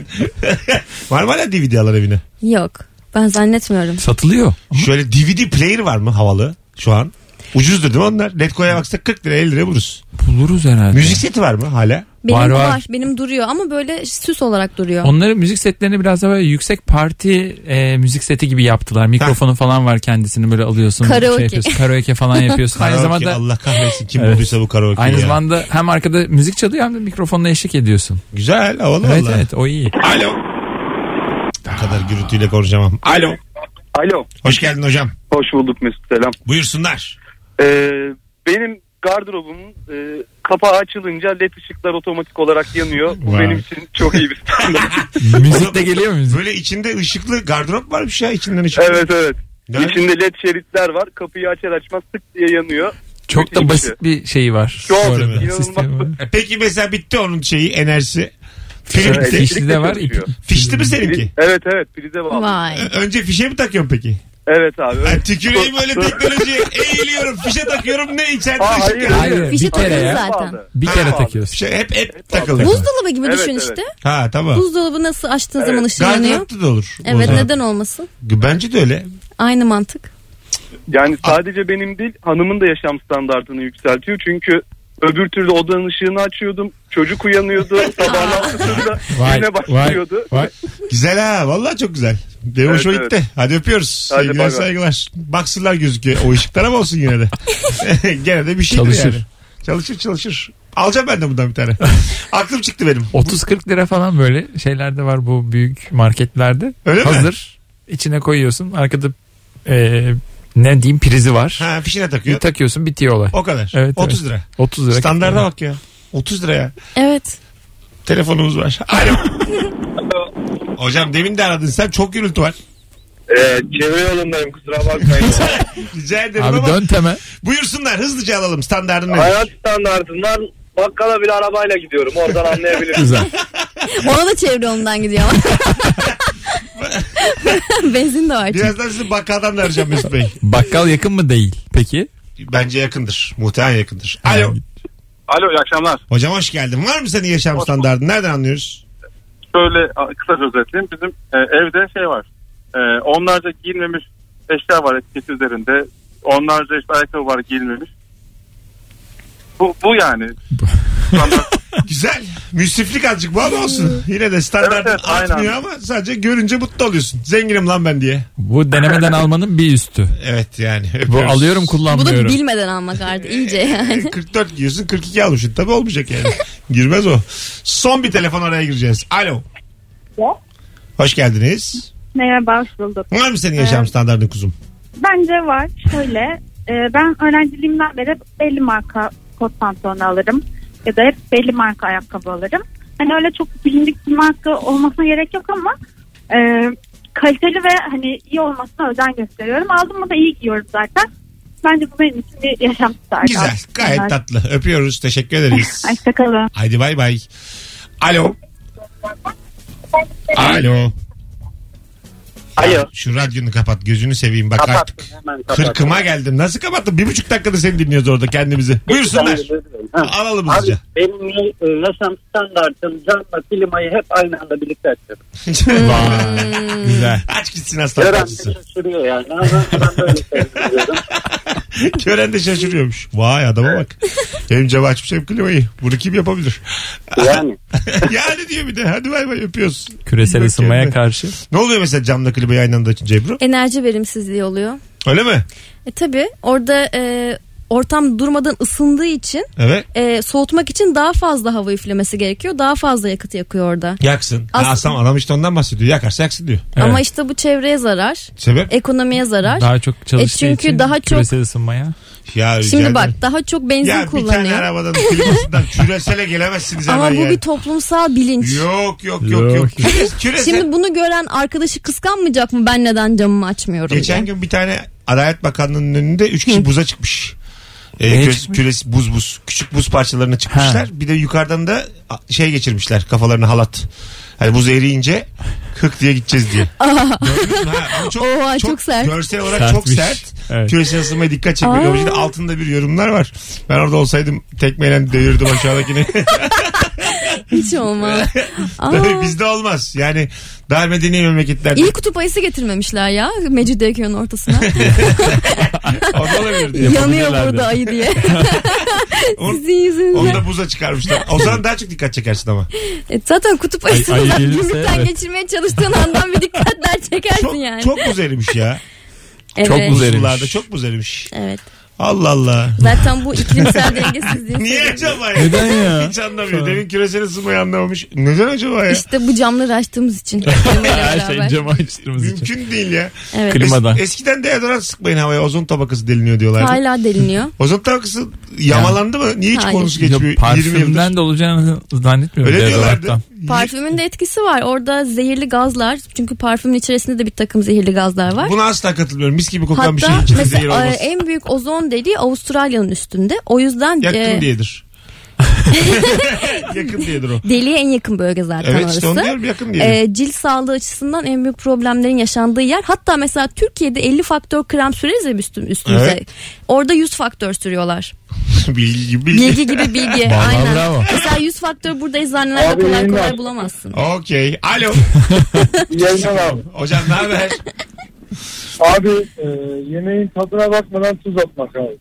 S2: var mı hala DVD alan evine?
S4: Yok. Ben zannetmiyorum.
S3: Satılıyor.
S2: Şöyle DVD player var mı havalı şu an? Ucuzdur değil mi onlar? Netco'ya baksak 40 lira 50 lira buluruz.
S3: Buluruz herhalde.
S2: Müzik seti var mı hala?
S4: Benim
S3: Var,
S4: var,
S3: var.
S4: Benim duruyor ama böyle süs olarak duruyor.
S3: Onları müzik setlerini biraz daha böyle yüksek parti e, müzik seti gibi yaptılar. Mikrofonu falan var kendisini böyle alıyorsun. şey
S4: Karaoke.
S3: yapıyorsun, karaoke falan yapıyorsun. aynı
S2: Karaoke,
S3: zamanda
S2: Allah kahretsin kim
S3: Evet.
S2: bulduysa bu karaoke
S3: aynı
S2: ya.
S3: zamanda hem arkada müzik çalıyor hem de mikrofonla eşlik ediyorsun.
S2: Güzel havalı
S3: evet
S2: valla.
S3: evet o iyi.
S2: Alo. Bu kadar gürültüyle konuşamam. Alo.
S8: Alo.
S2: Hoş geldin hocam.
S8: Hoş bulduk Mesut selam.
S2: Buyursunlar.
S8: Ee, benim gardırobumun e, kapağı açılınca led ışıklar otomatik olarak yanıyor. Bu
S2: Vay.
S8: benim için çok iyi bir standart.
S3: müzik de geliyor mu müzik?
S2: Böyle içinde ışıklı gardırop varmış ya içinden ışıklı.
S8: evet evet.
S2: Ne?
S8: İçinde led şeritler var. Kapıyı açar açmaz tık diye yanıyor.
S3: Çok da basit bir şey var.
S8: Çok,
S3: bu arada.
S8: inanılmaz.
S3: Sistemi var.
S2: E Peki mesela bitti onun şeyi enerjisi. Pil
S8: Evet,
S2: bitti.
S3: Fiş-
S8: elektrikle
S3: de var,
S8: çalışıyor.
S2: Fişti mi
S8: Priz-
S2: seninki?
S8: Evet evet prize bağlı.
S4: Vay.
S2: Ö- Önce fişe mi takıyorsun peki?
S8: Evet abi. öyle.
S2: Ben tüküreyim böyle teknolojiye eğiliyorum fişe takıyorum ne içeride
S8: Aa,
S2: ışık
S8: hayır,
S2: yanıyor.
S3: Hayır,
S4: Fişi
S3: bir kere
S4: takıyoruz
S3: ya.
S4: zaten.
S8: Bağlı.
S3: Bir kere
S2: Ha.
S3: takıyorsun.
S2: Şey, hep hep takılır.
S4: Buzdolabı gibi
S8: Evet,
S4: düşün
S8: evet.
S4: işte.
S2: Ha tamam.
S4: Buzdolabı nasıl açtığın zaman ışığı yanıyor.
S2: Gardıropta da olur. O
S4: Evet
S2: zaman.
S4: neden olmasın?
S2: Bence de öyle.
S4: Aynı mantık.
S2: Ah.
S8: Yani sadece benim değil hanımın da yaşam standartını yükseltiyor. Çünkü Öbür türlü odanın ışığını açıyordum. Çocuk uyanıyordu. Sabahın altısında
S2: Vay,
S8: yine başlıyordu.
S2: Güzel ha. Vallahi çok güzel. Benim
S8: Evet,
S2: hoşuma
S8: evet.
S2: gitti. Hadi öpüyoruz.
S8: Hadi
S2: Sevgiler
S8: bay bay.
S2: saygılar. Baksırlar gözüküyor o ışıklar ama olsun yine de. gene de bir şeydir
S3: Çalışır.
S2: yani. Çalışır çalışır. Alacağım ben de bundan bir tane. Aklım çıktı benim.
S3: 30-40 lira falan böyle şeylerde var bu büyük marketlerde.
S2: Öyle mi?
S3: Hazır. İçine koyuyorsun. Arkada e, ne diyeyim prizi var.
S2: Ha fişine takıyor.
S3: Bir takıyorsun bitiyor olay.
S2: O kadar.
S3: Evet,
S2: 30
S3: evet.
S2: lira.
S3: 30 lira.
S2: Standarda bak ya. 30 lira ya.
S4: Evet.
S2: Telefonumuz var. Alo. Hocam demin de aradın sen çok gürültü var.
S8: Ee, çevre yolundayım kusura bakmayın.
S2: Rica ederim
S3: Abi
S2: ama
S3: dön teme.
S2: buyursunlar hızlıca alalım standartını.
S8: Hayat standartından bakkala bile arabayla gidiyorum. Oradan anlayabilirim.
S3: Güzel.
S4: Ona da çevre ondan gidiyor. Benzin de var. çünkü.
S2: Birazdan sizi bakkaldan da arayacağım Mesut Bey.
S3: Bakkal yakın mı değil peki?
S2: Bence yakındır. Muhtemelen yakındır. Alo.
S7: Alo iyi akşamlar.
S2: Hocam hoş geldin. Var mı senin yaşam standartın? Nereden anlıyoruz?
S7: Şöyle a, kısaca özetleyeyim. Bizim e, evde şey var. E, onlarca giyilmemiş eşya var etiketi üzerinde. Onlarca işte ayakkabı var giyilmemiş. Bu, bu yani.
S2: Güzel. Müsriflik azıcık bu ama olsun. Yine de standartın
S7: Evet, evet, aynen.
S2: artmıyor ama sadece görünce mutlu oluyorsun. Zenginim lan ben diye.
S3: Bu denemeden almanın bir üstü.
S2: Evet yani.
S3: Bu
S2: öpüyoruz.
S3: alıyorum
S4: Bu da
S3: kullanmıyorum.
S4: bilmeden almak artık iyice yani.
S2: 44 giyiyorsun 42 almışsın. Tabii olmayacak yani. Girmez o. Son bir telefon araya gireceğiz. Alo.
S12: Ya.
S2: Hoş geldiniz.
S12: Merhaba, hoş bulduk.
S2: Var mı senin yaşam standartın kuzum?
S12: Bence var. Şöyle, e, ben öğrenciliğimden beri hep belli marka kot pantolon alırım. Ya da hep belli marka ayakkabı alırım. Hani öyle çok bilindik bir marka olmasına gerek yok ama e, kaliteli ve hani iyi olmasına özen gösteriyorum. Aldım mı da iyi giyiyorum zaten. Bence bu benim için bir yaşam standartı.
S2: Güzel. Gayet tatlı. Öpüyoruz. Teşekkür ederiz.
S12: Hoşçakalın.
S2: Haydi bay bay. Alo. Alo.
S8: Alo.
S2: Şu radyonu kapat. Gözünü seveyim bak artık.
S8: Kapattım hemen kapattım.
S2: Kırkıma geldim. Nasıl kapattın? Bir buçuk dakikada seni dinliyoruz orada kendimizi. Buyursunlar.
S8: Ha.
S2: Alalım
S8: Abi
S2: hızlıca.
S8: benim e, yaşam standartım canla klimayı hep aynı anda birlikte açıyorum.
S2: Vay, Güzel. Hmm. Aç gitsin hasta
S8: Gören
S2: parçası.
S8: de şaşırıyor yani. Ama ben böyle seviyorum.
S2: Gören de şaşırıyormuş. Vay adama bak. Hem cevap açmış hem klimayı. Bunu kim yapabilir?
S8: Yani.
S2: yani diyor bir de. Hadi bay bay öpüyoruz.
S3: Küresel
S2: Bakıyorum
S3: ısınmaya
S2: ben.
S3: karşı.
S2: Ne oluyor mesela camla klimayı aynı anda açınca Ebru?
S4: Enerji verimsizliği oluyor.
S2: Öyle mi?
S4: E tabi orada e, ortam durmadan ısındığı için
S2: Evet.
S4: e, soğutmak için daha fazla hava üflemesi gerekiyor. Daha fazla yakıt yakıyor orada.
S2: Yaksın.
S4: As-
S2: Aslında adam işte ondan bahsediyor. Yakarsa yaksın diyor.
S3: Evet.
S4: Ama işte bu çevreye zarar,
S2: Sebep?
S4: ekonomiye zarar.
S3: Daha çok çalıştığı
S4: E çünkü
S3: için
S4: daha çok-
S3: küresel ısınmaya.
S2: Ya rica
S4: Şimdi
S2: ederim.
S4: bak daha çok benzin
S2: Ya bir
S4: kullanıyor.
S2: tane arabadan klimasından küresele gelemezsiniz
S4: Ama
S2: hemen
S4: bu
S2: yani.
S4: bir toplumsal bilinç.
S2: Yok yok yok yok.
S3: Yok.
S2: Küres, küresel.
S4: Şimdi bunu gören arkadaşı kıskanmayacak mı ben neden camımı açmıyorum
S2: Geçen
S4: diye.
S2: gün bir tane Adalet Bakanlığı'nın önünde 3 kişi buza çıkmış. Ee,
S3: Neye
S2: küres,
S3: çıkmış?
S2: küres- buz buz küçük buz parçalarına çıkmışlar.
S3: Ha.
S2: Bir de yukarıdan da a, şey geçirmişler kafalarına halat. Hani buz eriyince hık diye gideceğiz diye. Gördünüz mü? Ha, ama çok,
S4: Oha, çok sert.
S2: Görsel olarak çok
S3: Sertmiş.
S2: sert.
S3: Evet.
S2: Küresel ısınmaya dikkat çekmek
S4: Aa.
S2: amacıyla altında bir yorumlar var. Ben orada olsaydım tekmeyle devirdim aşağıdakini.
S4: Hiç olmaz. Aa,
S2: Tabii bizde olmaz. Yani daha medeni memleketlerde.
S4: iyi kutup ayısı getirmemişler ya Mecidiyeköy'ün ortasına.
S2: Orada olabilirdi.
S4: Yanıyor
S3: Yapabilirlerdi.
S4: burada ayı diye.
S2: On-
S4: Sizin yüzünüzden.
S2: Onu da buza çıkarmışlar. O zaman daha çok dikkat çekersin ama.
S4: E, zaten kutup ayısını
S3: ayı
S4: zaten
S3: gelirse
S4: gümrükten
S3: evet.
S4: geçirmeye çalıştığın andan bir dikkatler çekersin
S2: Çok,
S4: yani.
S2: çok buz erimiş ya.
S4: evet.
S3: çok güzel. Buz erimiş.
S2: Buzullarda çok buz erimiş.
S4: Evet.
S2: Allah Allah.
S4: Zaten bu iklimsel dengesizliği.
S2: Niye acaba ya?
S3: Neden ya?
S2: Hiç anlamıyor. Demin küresel ısınmayı anlamamış. Neden acaba ya?
S4: İşte bu camları açtığımız için. Klimayla
S3: Her
S4: beraber.
S3: şey cama açtığımız için.
S2: Mümkün değil ya.
S4: Evet.
S3: Klimadan.
S2: Es- eskiden deodorant sıkmayın havaya. Ozon tabakası deliniyor diyorlardı.
S4: Hala deliniyor.
S2: Ozon tabakası yamalandı mı? Niye hiç
S4: Hayır.
S2: konusu
S3: Ya
S2: geçmiyor? 20 yıldır.
S3: Parfümden de olacağını zannetmiyorum.
S2: Öyle
S3: Öyle
S2: diyorlardı.
S4: Parfümün de etkisi var. Orada zehirli gazlar. Çünkü parfümün içerisinde de bir takım zehirli gazlar var.
S2: Buna asla katılmıyorum. Mis gibi kokan bir şey.
S4: Hatta
S2: İçinde zehir
S4: mesela e,
S2: olmaz.
S4: en büyük ozon deliği Avustralya'nın üstünde. O yüzden
S2: Yakın
S4: e,
S2: diyedir. yakın diyedir o.
S4: deliğe en yakın bölge zaten
S2: Evet işte onu
S4: orası.
S2: diyorum yakın diyedir.
S4: E, cilt sağlığı açısından en büyük problemlerin yaşandığı yer. Hatta mesela Türkiye'de 50 faktör krem süreriz ya üstüm- üstümüze.
S2: Evet.
S4: Orada 100 faktör sürüyorlar.
S2: bilgi bilgi.
S4: Bilgi gibi bilgi.
S3: Vallahi
S4: aynen.
S3: bravo.
S4: Mesela 100 faktör burada eczanelerde
S8: Abi
S4: kolay
S8: yayınlar.
S4: kolay bulamazsın.
S2: Okey. Alo.
S9: Yayınlar abi.
S2: Hocam ne haber?
S9: Abi e, yemeğin tadına bakmadan tuz atmak abi.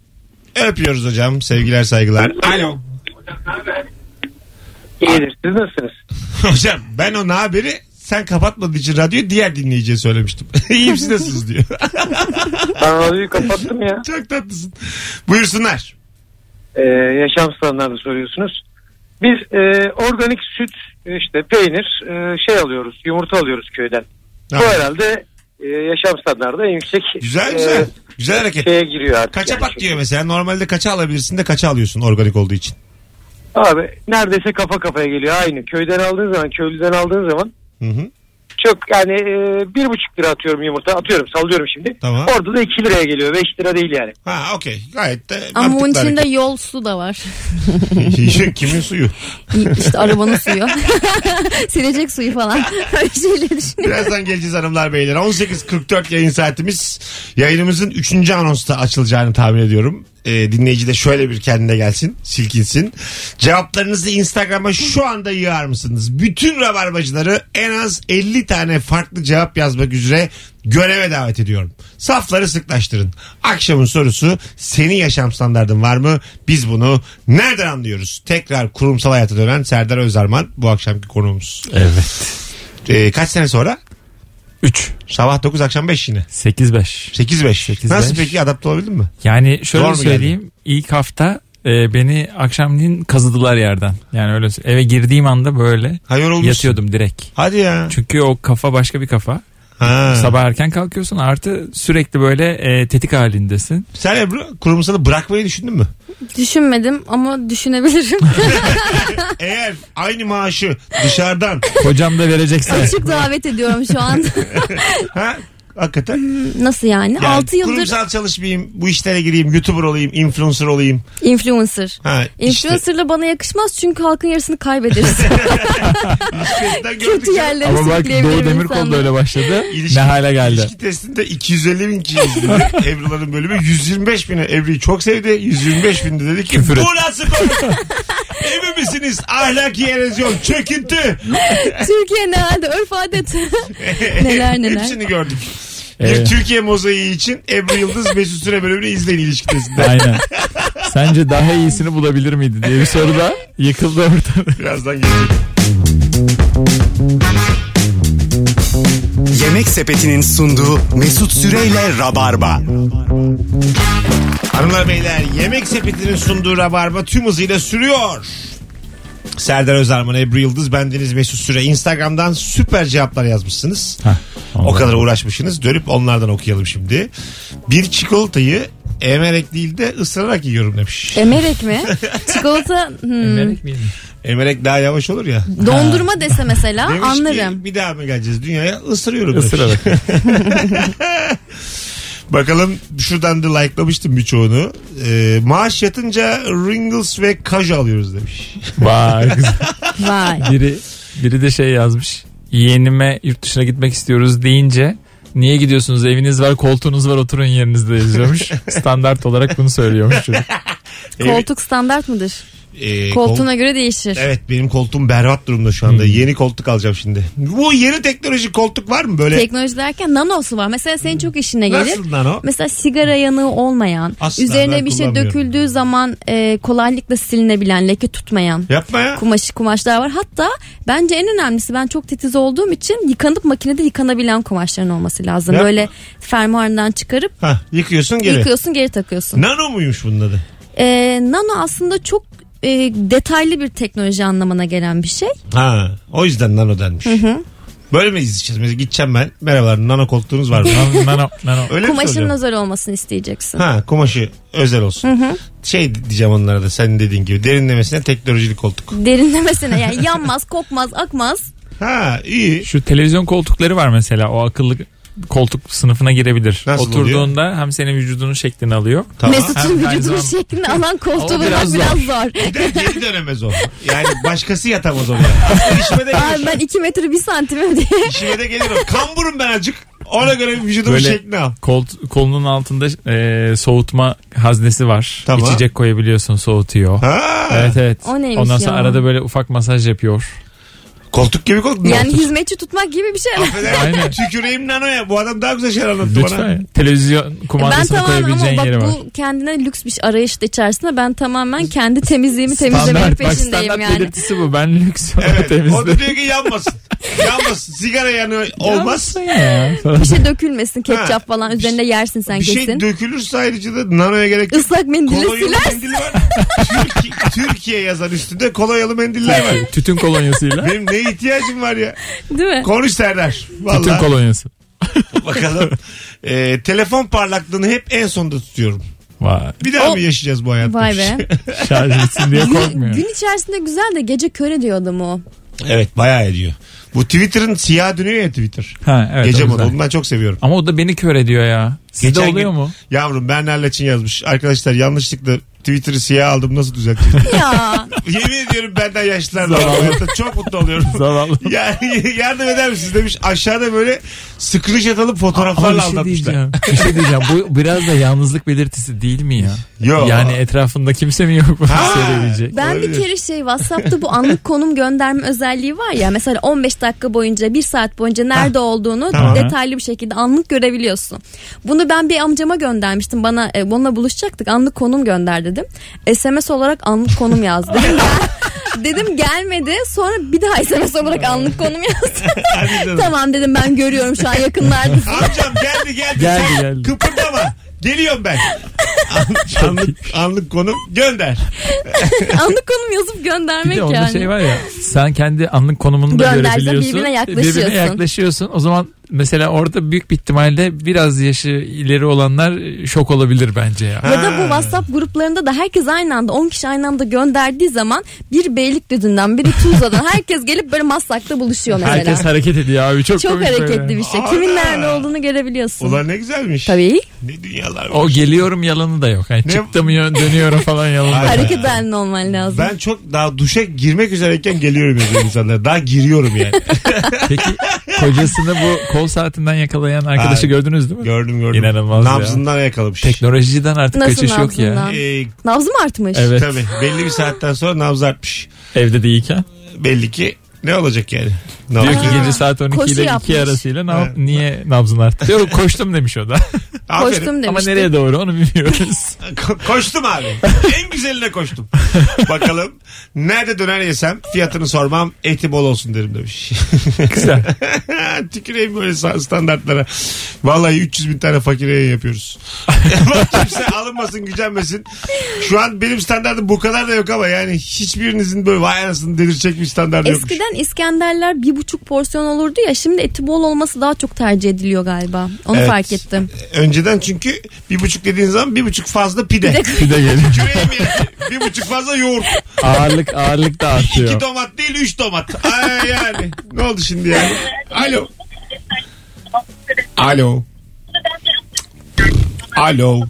S2: Öpüyoruz hocam. Sevgiler saygılar. Alo.
S13: İyidir. Siz nasılsınız?
S2: Hocam ben o haberi sen kapatmadığın için radyoyu diğer dinleyiciye söylemiştim. İyiyim siz nasılsınız diyor.
S13: Ben radyoyu kapattım ya.
S2: Çok tatlısın. Buyursunlar.
S13: Ee, yaşam standartı soruyorsunuz. Biz e, organik süt, işte peynir, e, şey alıyoruz, yumurta alıyoruz köyden. Bu herhalde e, yaşam standartı en yüksek.
S2: Güzel
S7: Ee,
S2: güzel.
S13: e,
S2: güzel hareket.
S7: şey-
S13: Şeye giriyor artık.
S2: Kaça
S13: yani.
S2: patlıyor mesela? Normalde kaça alabilirsin de kaça alıyorsun organik olduğu için?
S13: Abi neredeyse kafa kafaya geliyor aynı. Köyden aldığın zaman, köylüden aldığın zaman
S2: Hı hı.
S13: çok yani e, bir buçuk lira atıyorum yumurta. Atıyorum sallıyorum şimdi.
S2: Tamam.
S13: Orada da iki liraya geliyor. Beş lira değil yani.
S2: Ha okey. Gayet de
S4: Ama onun
S2: mantıklı
S4: içinde yol su da var.
S2: hareket. Kimin suyu?
S4: işte arabanın suyu. Silecek suyu falan. Öyle şeyleri düşünüyorum.
S2: Birazdan geleceğiz hanımlar beyler. 18.44 yayın saatimiz. Yayınımızın 3. anonsta açılacağını tahmin ediyorum. Ee, dinleyici de şöyle bir kendine gelsin, silkinsin. Cevaplarınızı Instagram'a şu anda yığar mısınız? Bütün rabarbacıları en az 50 tane farklı cevap yazmak üzere göreve davet ediyorum. Safları sıklaştırın. Akşamın sorusu senin yaşam standardın var mı? Biz bunu nereden anlıyoruz? Tekrar kurumsal hayata dönen Serdar Özarman bu akşamki konuğumuz.
S3: Evet.
S2: Ee, kaç sene sonra?
S3: 3.
S2: Sabah 9 akşam 5 yine.
S3: 8-5.
S2: 8-5. Nasıl peki adapte olabildin mi?
S3: Yani şöyle
S2: Zor mu
S3: söyleyeyim ilk hafta e, beni akşamleyin kazıdılar yerden. Yani öyle sö- eve girdiğim anda böyle
S2: Ha, yorulmuşsun.
S3: yatıyordum direkt.
S2: Hadi ya.
S3: Çünkü o kafa başka bir kafa.
S2: Ha.
S3: Sabah erken kalkıyorsun artı sürekli böyle e, tetik halindesin.
S2: Sen Ebru kurumsalı bırakmayı düşündün mü?
S4: Düşünmedim ama düşünebilirim.
S2: Eğer aynı maaşı dışarıdan
S3: Kocam da verecekse.
S4: Açık davet ediyorum şu an.
S2: ha? Hakikaten.
S4: Nasıl yani?
S2: Yani
S4: 6 yıldır
S2: kurumsal çalışmayayım, bu işlere gireyim, YouTuber olayım, influencer olayım.
S4: influencer.
S2: Ha,
S4: Influencer'la bana yakışmaz çünkü halkın yarısını kaybederiz. Kötü yerlere
S3: Ama bak Doğu
S4: sürükleyebilirim
S3: Demirkol da
S4: insanları.
S3: öyle başladı.
S2: İlişki-
S3: ne hale geldi.
S2: İlişki testinde 250 bin kişi izledi. Ebru'ların bölümü 125 bini. Ebru'yu çok sevdi. 125 bin de dedi ki
S3: Küfür et.
S2: bu nasıl konu? Emin misiniz? Ahlaki erozyon, çöküntü.
S4: Türkiye ne halde? Örf adet. neler neler.
S2: Hepsini gördük. Bir
S3: Evet.
S2: Türkiye mozaiği için Ebru Yıldız Mesut Süre bölümünü izleyin ilişki testinde.
S3: Aynen. Sence daha iyisini bulabilir miydi diye bir soruda yıkıldı ortada.
S2: Birazdan gelecek.
S1: Yemek Sepeti'nin sunduğu Mesut Süreyle Rabarba.
S2: Hanımlar beyler Yemek Sepeti'nin sunduğu rabarba tüm hızıyla sürüyor. Serdar Özarman, Ebru Yıldız, bendeniz Mesut Süre. Instagram'dan süper cevaplar yazmışsınız. o kadar uğraşmışsınız. Dönüp onlardan okuyalım şimdi. Bir çikolatayı emerek değil de ısırarak yiyorum demiş.
S4: Emerek mi? Çikolata hmm.
S2: Emerek daha yavaş olur ya.
S4: dondurma dese mesela
S2: Demiş
S4: anlarım.
S2: ki bir daha mı geleceğiz dünyaya? Isırıyorum demiş.
S3: Isırarak.
S2: Bakalım şuradan da likelamıştım birçoğunu. Ee, maaş yatınca Ringles ve Kaj alıyoruz demiş.
S3: Vay güzel.
S4: Vay.
S3: Biri, biri de şey yazmış. Yeğenime yurt dışına gitmek istiyoruz deyince niye gidiyorsunuz eviniz var koltuğunuz var oturun yerinizde yazıyormuş. Standart olarak bunu söylüyormuş çocuk.
S4: Koltuk standart mıdır?
S2: Ee,
S4: Koltuğuna göre değişir.
S2: Evet benim koltuğum berbat durumda şu anda. Yeni koltuk alacağım şimdi. Bu yeni teknoloji koltuk var mı böyle?
S4: Teknoloji derken nanosu var. Mesela senin çok işine gelir.
S2: Nasıl lan o?
S4: Mesela sigara yanığı olmayan,
S2: Asla ben
S4: üzerine bir şey
S2: kullanmıyorum.
S4: döküldüğü zaman e, kolaylıkla silinebilen, leke tutmayan
S2: Yapma ya.
S4: kumaşı kumaşlar var. Hatta bence en önemlisi ben çok titiz olduğum için yıkanıp makinede yıkanabilen kumaşların olması lazım.
S2: Yapma.
S4: Böyle fermuarından çıkarıp
S2: Hah, yıkıyorsun geri.
S4: yıkıyorsun geri takıyorsun.
S2: Nano muymuş bunun adı?
S4: E, nano aslında çok e, detaylı bir teknoloji anlamına gelen bir şey.
S2: Ha, o yüzden nano denmiş.
S4: Hı hı.
S2: Böyle mi izleyeceğiz? Mesela gideceğim ben. Merhabalar nano koltuğunuz var mı?
S3: Nano, nano, nano.
S2: Öyle mi
S4: Kumaşının
S2: soracağım?
S4: özel olmasını isteyeceksin.
S2: şey Ha kumaşı özel olsun.
S4: Hı hı.
S2: Şey diyeceğim onlara da senin dediğin gibi derinlemesine teknolojili koltuk.
S4: Derinlemesine yani yanmaz, kopmaz, akmaz.
S2: Ha iyi.
S3: Şu televizyon koltukları var mesela o akıllı koltuk sınıfına girebilir.
S2: Nasıl
S3: Oturduğunda hem senin vücudunun şeklini alıyor.
S2: Tamam.
S3: Hem
S4: Mesut'un
S3: de aynı
S4: vücudunun
S3: zamanda-
S4: şeklini alan koltuğu
S3: Ama
S4: bulmak
S3: biraz
S4: biraz,
S3: zor.
S4: zor.
S2: Bir de geri dönemez o. Yani başkası yatamaz oraya. İşime de
S4: Abi
S2: gelir.
S4: ben 2 metre 1 santimim diye.
S2: İşime de gelir o. Kamburum ben azıcık. Ona göre vücudumun
S3: Böyle-
S2: şeklini al.
S3: Kol, kolunun altında e, soğutma haznesi var.
S2: Tamam.
S3: İçecek koyabiliyorsun soğutuyor.
S2: Ha.
S3: Evet evet.
S4: O neymiş
S3: Ondan sonra
S4: ya?
S3: arada böyle ufak masaj yapıyor.
S2: Koltuk gibi koltuk.
S4: Yani hizmetçi tutmak gibi bir şey.
S3: Ah,
S2: Aynen. Tüküreyim nanoya. Bu adam daha güzel şeyler anlattı bana.
S3: Lütfen. Televizyon
S4: E, ben
S3: kumandasını
S4: tamamen ama
S3: koyabileceğin
S4: bak
S3: yeri var.
S4: bu kendine lüks bir arayış da içerisinde ben tamamen kendi temizliğimi temizlemenin
S3: Standart, bak
S4: peşindeyim
S3: standart
S4: yani.
S3: belirtisi bu. Ben lüks evet,
S2: O da
S3: temizledim.
S2: diyor ki yanmasın. yanmasın. Sigara yanı olmaz.
S4: Bir şey dökülmesin ketçap
S2: Ha,
S4: falan üzerinde yersin sen
S2: Bir şey
S4: kesin.
S2: dökülürse ayrıca da nanoya gerek yok.
S4: Islak mendili
S2: Kolonyalı
S4: silersin.
S2: mendil var. Türkiye, Türkiye yazan üstünde kolonyalı mendiller var.
S3: Şey Tütün kolonyasıyla.
S2: Benim ne ihtiyacım var ya?
S4: Değil mi?
S2: Konuş Serdar.
S3: Tütün
S2: Vallahi.
S3: kolonyası.
S2: Bakalım. Ee, telefon parlaklığını hep en sonda tutuyorum.
S3: Vay.
S2: Bir daha mı yaşayacağız bu hayatı?
S4: Vay be.
S3: Şarj etsin diye korkmuyor.
S4: Gün içerisinde güzel de gece kör ediyor adamı o.
S2: Evet bayağı ediyor. Bu Twitter'ın siyah dönüyor ya Twitter.
S3: Ha, evet,
S2: Gece
S3: o
S2: modu.
S3: güzel.
S2: Onu ben çok seviyorum.
S3: Ama o da beni kör ediyor ya. Sizde
S2: Geçen
S3: oluyor
S2: gün-
S3: mu?
S2: Yavrum Berner'le Çin yazmış. Arkadaşlar yanlışlıkla Twitter'ı siyah aldım nasıl düzelteceğim?
S4: Ya.
S2: Yemin ediyorum benden yaşlılar var.
S3: Zavallı.
S2: Hayatta çok mutlu oluyorum.
S3: Zavallı.
S2: Yani yardım eder misiniz demiş. Aşağıda böyle screenshot alıp
S3: Ama bir
S2: fotoğraflarla
S3: şey
S2: anlatmışlar.
S3: diyeceğim. bir şey diyeceğim. Bu biraz da yalnızlık belirtisi değil mi ya?
S2: Yo.
S3: Yani etrafında kimse mi yok şey bunu söyleyebilecek?
S4: Ben bir kere şey WhatsApp'ta bu anlık konum gönderme özelliği var ya mesela 15 dakika boyunca 1 saat boyunca nerede olduğunu
S3: Tamam.
S4: detaylı bir şekilde anlık görebiliyorsun. Bunu ben bir amcama göndermiştim bana e, onunla buluşacaktık anlık konum gönder dedim. SMS olarak anlık konum yazdı. Dedim, gel- dedim gelmedi sonra bir daha SMS olarak anlık konum yazdı.
S2: Hadi canım.
S4: tamam dedim ben görüyorum şu an yakınlardasın.
S2: Amcam geldi geldi.
S3: Geldi,
S2: Sen
S3: geldi.
S2: Kıpırdama. Geliyorum ben. An- anlık, anlık konum gönder.
S4: anlık konum yazıp
S3: Bir
S4: göndermek
S3: de onda
S4: yani.
S3: şey var ya sen kendi anlık konumunu da
S4: Göndersen
S3: görebiliyorsun.
S4: birbirine yaklaşıyorsun.
S3: Birbirine yaklaşıyorsun. O zaman mesela orada büyük bir ihtimalle biraz yaşı ileri olanlar şok olabilir bence ya.
S4: Ya da bu WhatsApp gruplarında da herkes aynı anda 10 kişi aynı anda gönderdiği zaman bir Beylikdüzü'nden biri Tuzla'dan herkes gelip böyle Maslak'ta buluşuyor mesela.
S3: Herkes hareket ediyor abi çok,
S4: Çok
S3: komik böyle.
S4: hareketli bir şey.
S2: Ana.
S4: Kimin nerede olduğunu görebiliyorsun.
S2: Ulan ne güzelmiş.
S4: Tabii.
S2: Ne dünyalar var.
S3: O geliyorum yalanı da yok. Yani
S2: Ne-
S3: çıktım yön- dönüyorum falan yalanı da yok.
S4: Hareket halinde olman lazım.
S2: Ben çok daha duşa girmek üzereyken geliyorum yani insanlara. Daha giriyorum yani.
S3: Peki kocasını bu kol saatinden yakalayan arkadaşı
S2: Abi,
S3: gördünüz değil mi?
S2: Gördüm gördüm.
S3: İnanılmaz ya.
S2: Nabzından yakalamış.
S3: Teknolojiden artık
S4: Nasıl
S3: kaçış yok ya.
S4: nabzından?
S2: Ee,
S4: Nabzı mı artmış?
S3: Evet.
S2: Tabii belli bir saatten sonra nabz artmış.
S3: Evde değilken.
S2: Belli ki ne olacak yani? Nabz-
S3: Diyor ki gece saat 12
S4: koşu
S3: ile 2
S4: yapmış.
S3: arasıyla
S2: Ha.
S3: nab- niye nabzın arttı? Diyor koştum demiş o da.
S2: Aferin.
S4: Koştum
S3: Ama
S4: demiştim.
S3: nereye doğru onu bilmiyoruz.
S2: Ko- koştum abi. en güzeline koştum. Bakalım nerede döner yesem fiyatını sormam eti bol olsun derim demiş.
S3: Güzel.
S2: Tüküreyim böyle sa- standartlara. Vallahi 300 bin tane fakire yayın yapıyoruz. Kimse alınmasın gücenmesin. Şu an benim standartım bu kadar da yok ama yani hiçbirinizin böyle vay anasını delirecek bir standartı yokmuş.
S4: Eskiden İskenderler bir buçuk porsiyon olurdu ya şimdi eti bol olması daha çok tercih ediliyor galiba. Onu
S2: Evet.
S4: fark ettim.
S2: Önceden çünkü bir buçuk dediğin zaman bir buçuk fazla pide.
S3: Bir de geliyor.
S2: Tüküreyim yani. Bir buçuk fazla yoğurt.
S3: Ağırlık ağırlık da
S2: İki
S3: artıyor.
S2: domat değil üç domat. Ay yani. Ne oldu şimdi yani? Alo. Alo. Alo.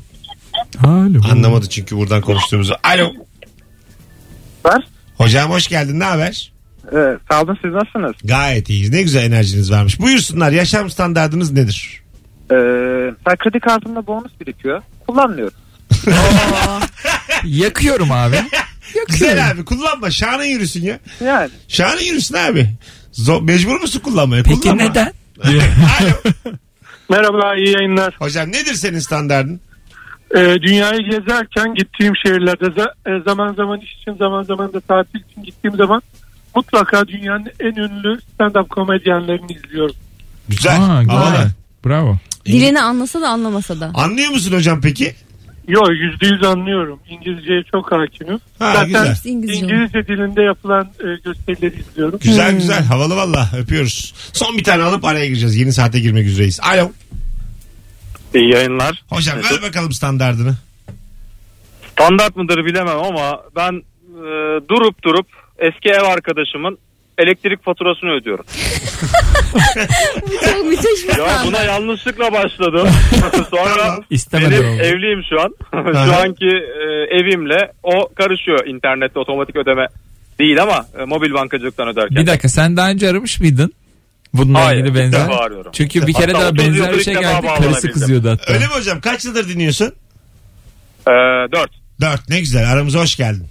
S3: Alo.
S2: Anlamadı çünkü buradan konuştuğumuzu. Alo.
S9: Var.
S2: Hocam hoş geldin. Ne haber?
S9: Ee, sağ olun siz nasılsınız?
S2: Gayet iyiyiz. Ne güzel enerjiniz varmış. Buyursunlar. Yaşam standardınız nedir?
S9: Ee, mesela kredi kartımda bonus birikiyor. Kullanmıyorum.
S3: Yakıyorum abi.
S2: Güzel abi. Kullanma. Şahane yürüsün ya.
S9: Yani
S2: Şahane yürüsün abi. Zo- mecbur musun kullanmaya?
S3: Peki
S2: Kullanma.
S3: neden?
S2: Alo.
S7: Merhaba iyi yayınlar.
S2: Hocam nedir senin standardın?
S7: Ee, dünyayı gezerken gittiğim şehirlerde za- e, zaman zaman iş için zaman zaman da tatil için gittiğim zaman mutlaka dünyanın en ünlü stand-up komedyenlerini izliyorum.
S2: Güzel.
S3: Aa,
S2: Havalı.
S3: güzel. Bravo.
S4: Dilini anlasa da anlamasa da.
S2: Anlıyor musun hocam peki?
S7: Yo yüzde yüz anlıyorum. İngilizceye çok hakimim.
S2: Ha,
S7: Zaten
S2: güzel.
S4: Hepsi İngilizce.
S7: İngilizce dilinde yapılan e, gösterileri izliyorum.
S2: Güzel güzel. Havalı valla. Öpüyoruz. Son bir tane alıp araya gireceğiz. Yeni saate girmek üzereyiz. Alo.
S8: İyi yayınlar.
S2: Hocam ver bakalım standardını.
S8: Standart mıdır bilemem ama ben e, durup durup eski ev arkadaşımın elektrik faturasını ödüyorum.
S4: Bu çok müthiş bir
S8: Ya
S4: standart.
S8: buna yanlışlıkla başladım. Sonra
S3: İstemedim
S8: benim
S3: ama.
S8: evliyim şu an.
S2: Aha.
S8: şu anki e, evimle o karışıyor internette otomatik ödeme değil ama e, mobil bankacılıktan öderken.
S3: Bir dakika sen daha önce aramış mıydın? Bununla
S8: Hayır,
S3: ilgili
S8: ilk
S3: benzer.
S8: defa arıyorum.
S3: Çünkü bir kere
S8: Hatta
S3: daha
S8: otuz
S3: benzer
S8: yıldır
S3: bir
S8: ilk
S3: şey
S8: defa
S3: geldi. Karısı
S8: bağlanabildim.
S3: kızıyordu hatta.
S2: Öyle mi hocam? Kaç yıldır dinliyorsun?
S14: Ee,
S8: E, dört.
S2: Dört. Ne güzel. Aramıza hoş geldin.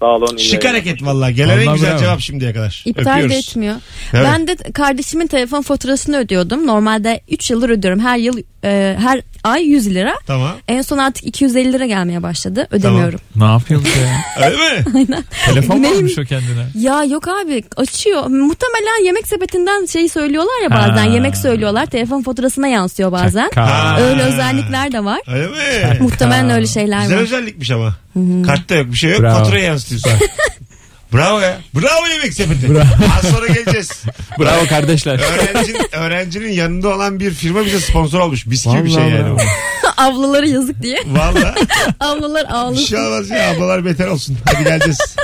S14: Sağ olun. iyi
S2: Şık
S14: yayınlar.
S2: hareket valla. Gelen en
S14: Vallahi
S2: güzel
S14: bravo.
S2: cevap şimdiye kadar.
S4: İptal
S2: Öpüyoruz.
S4: de etmiyor.
S2: Evet.
S4: Ben de kardeşimin telefon faturasını ödüyordum. Normalde 3 yıldır ödüyorum. Her yıl e, her ay 100 lira.
S2: Tamam.
S4: En son artık 250 lira gelmeye başladı. Ödemiyorum.
S3: Ne yapıyormuş o ya?
S2: Öyle mi?
S4: Aynen.
S3: Telefon mu
S4: Neyim?
S3: almış o kendine?
S4: Ya yok abi açıyor. Muhtemelen yemek sepetinden şey söylüyorlar ya bazen.
S3: Ha.
S4: Yemek söylüyorlar. Telefon faturasına yansıyor bazen.
S2: Çakal.
S4: Öyle özellikler de var.
S2: Öyle mi?
S4: Muhtemelen öyle şeyler
S2: Güzel
S4: var.
S2: özellikmiş ama. Kartta yok bir şey yok.
S3: Bravo.
S2: Faturaya yansıtıyorsun. Bravo ya. Bravo yemek sepeti. Az sonra geleceğiz.
S3: Bravo kardeşler.
S2: Öğrencinin, öğrencinin yanında olan bir firma bize sponsor olmuş. Biz gibi bir
S3: Vallahi
S2: şey yani.
S3: bravo.
S2: bu.
S4: Avlulara yazık diye.
S2: Valla
S4: Avlular
S2: bir
S4: ağlasın.
S2: şey olmaz ya. Ablalar beter olsun. Hadi geleceğiz.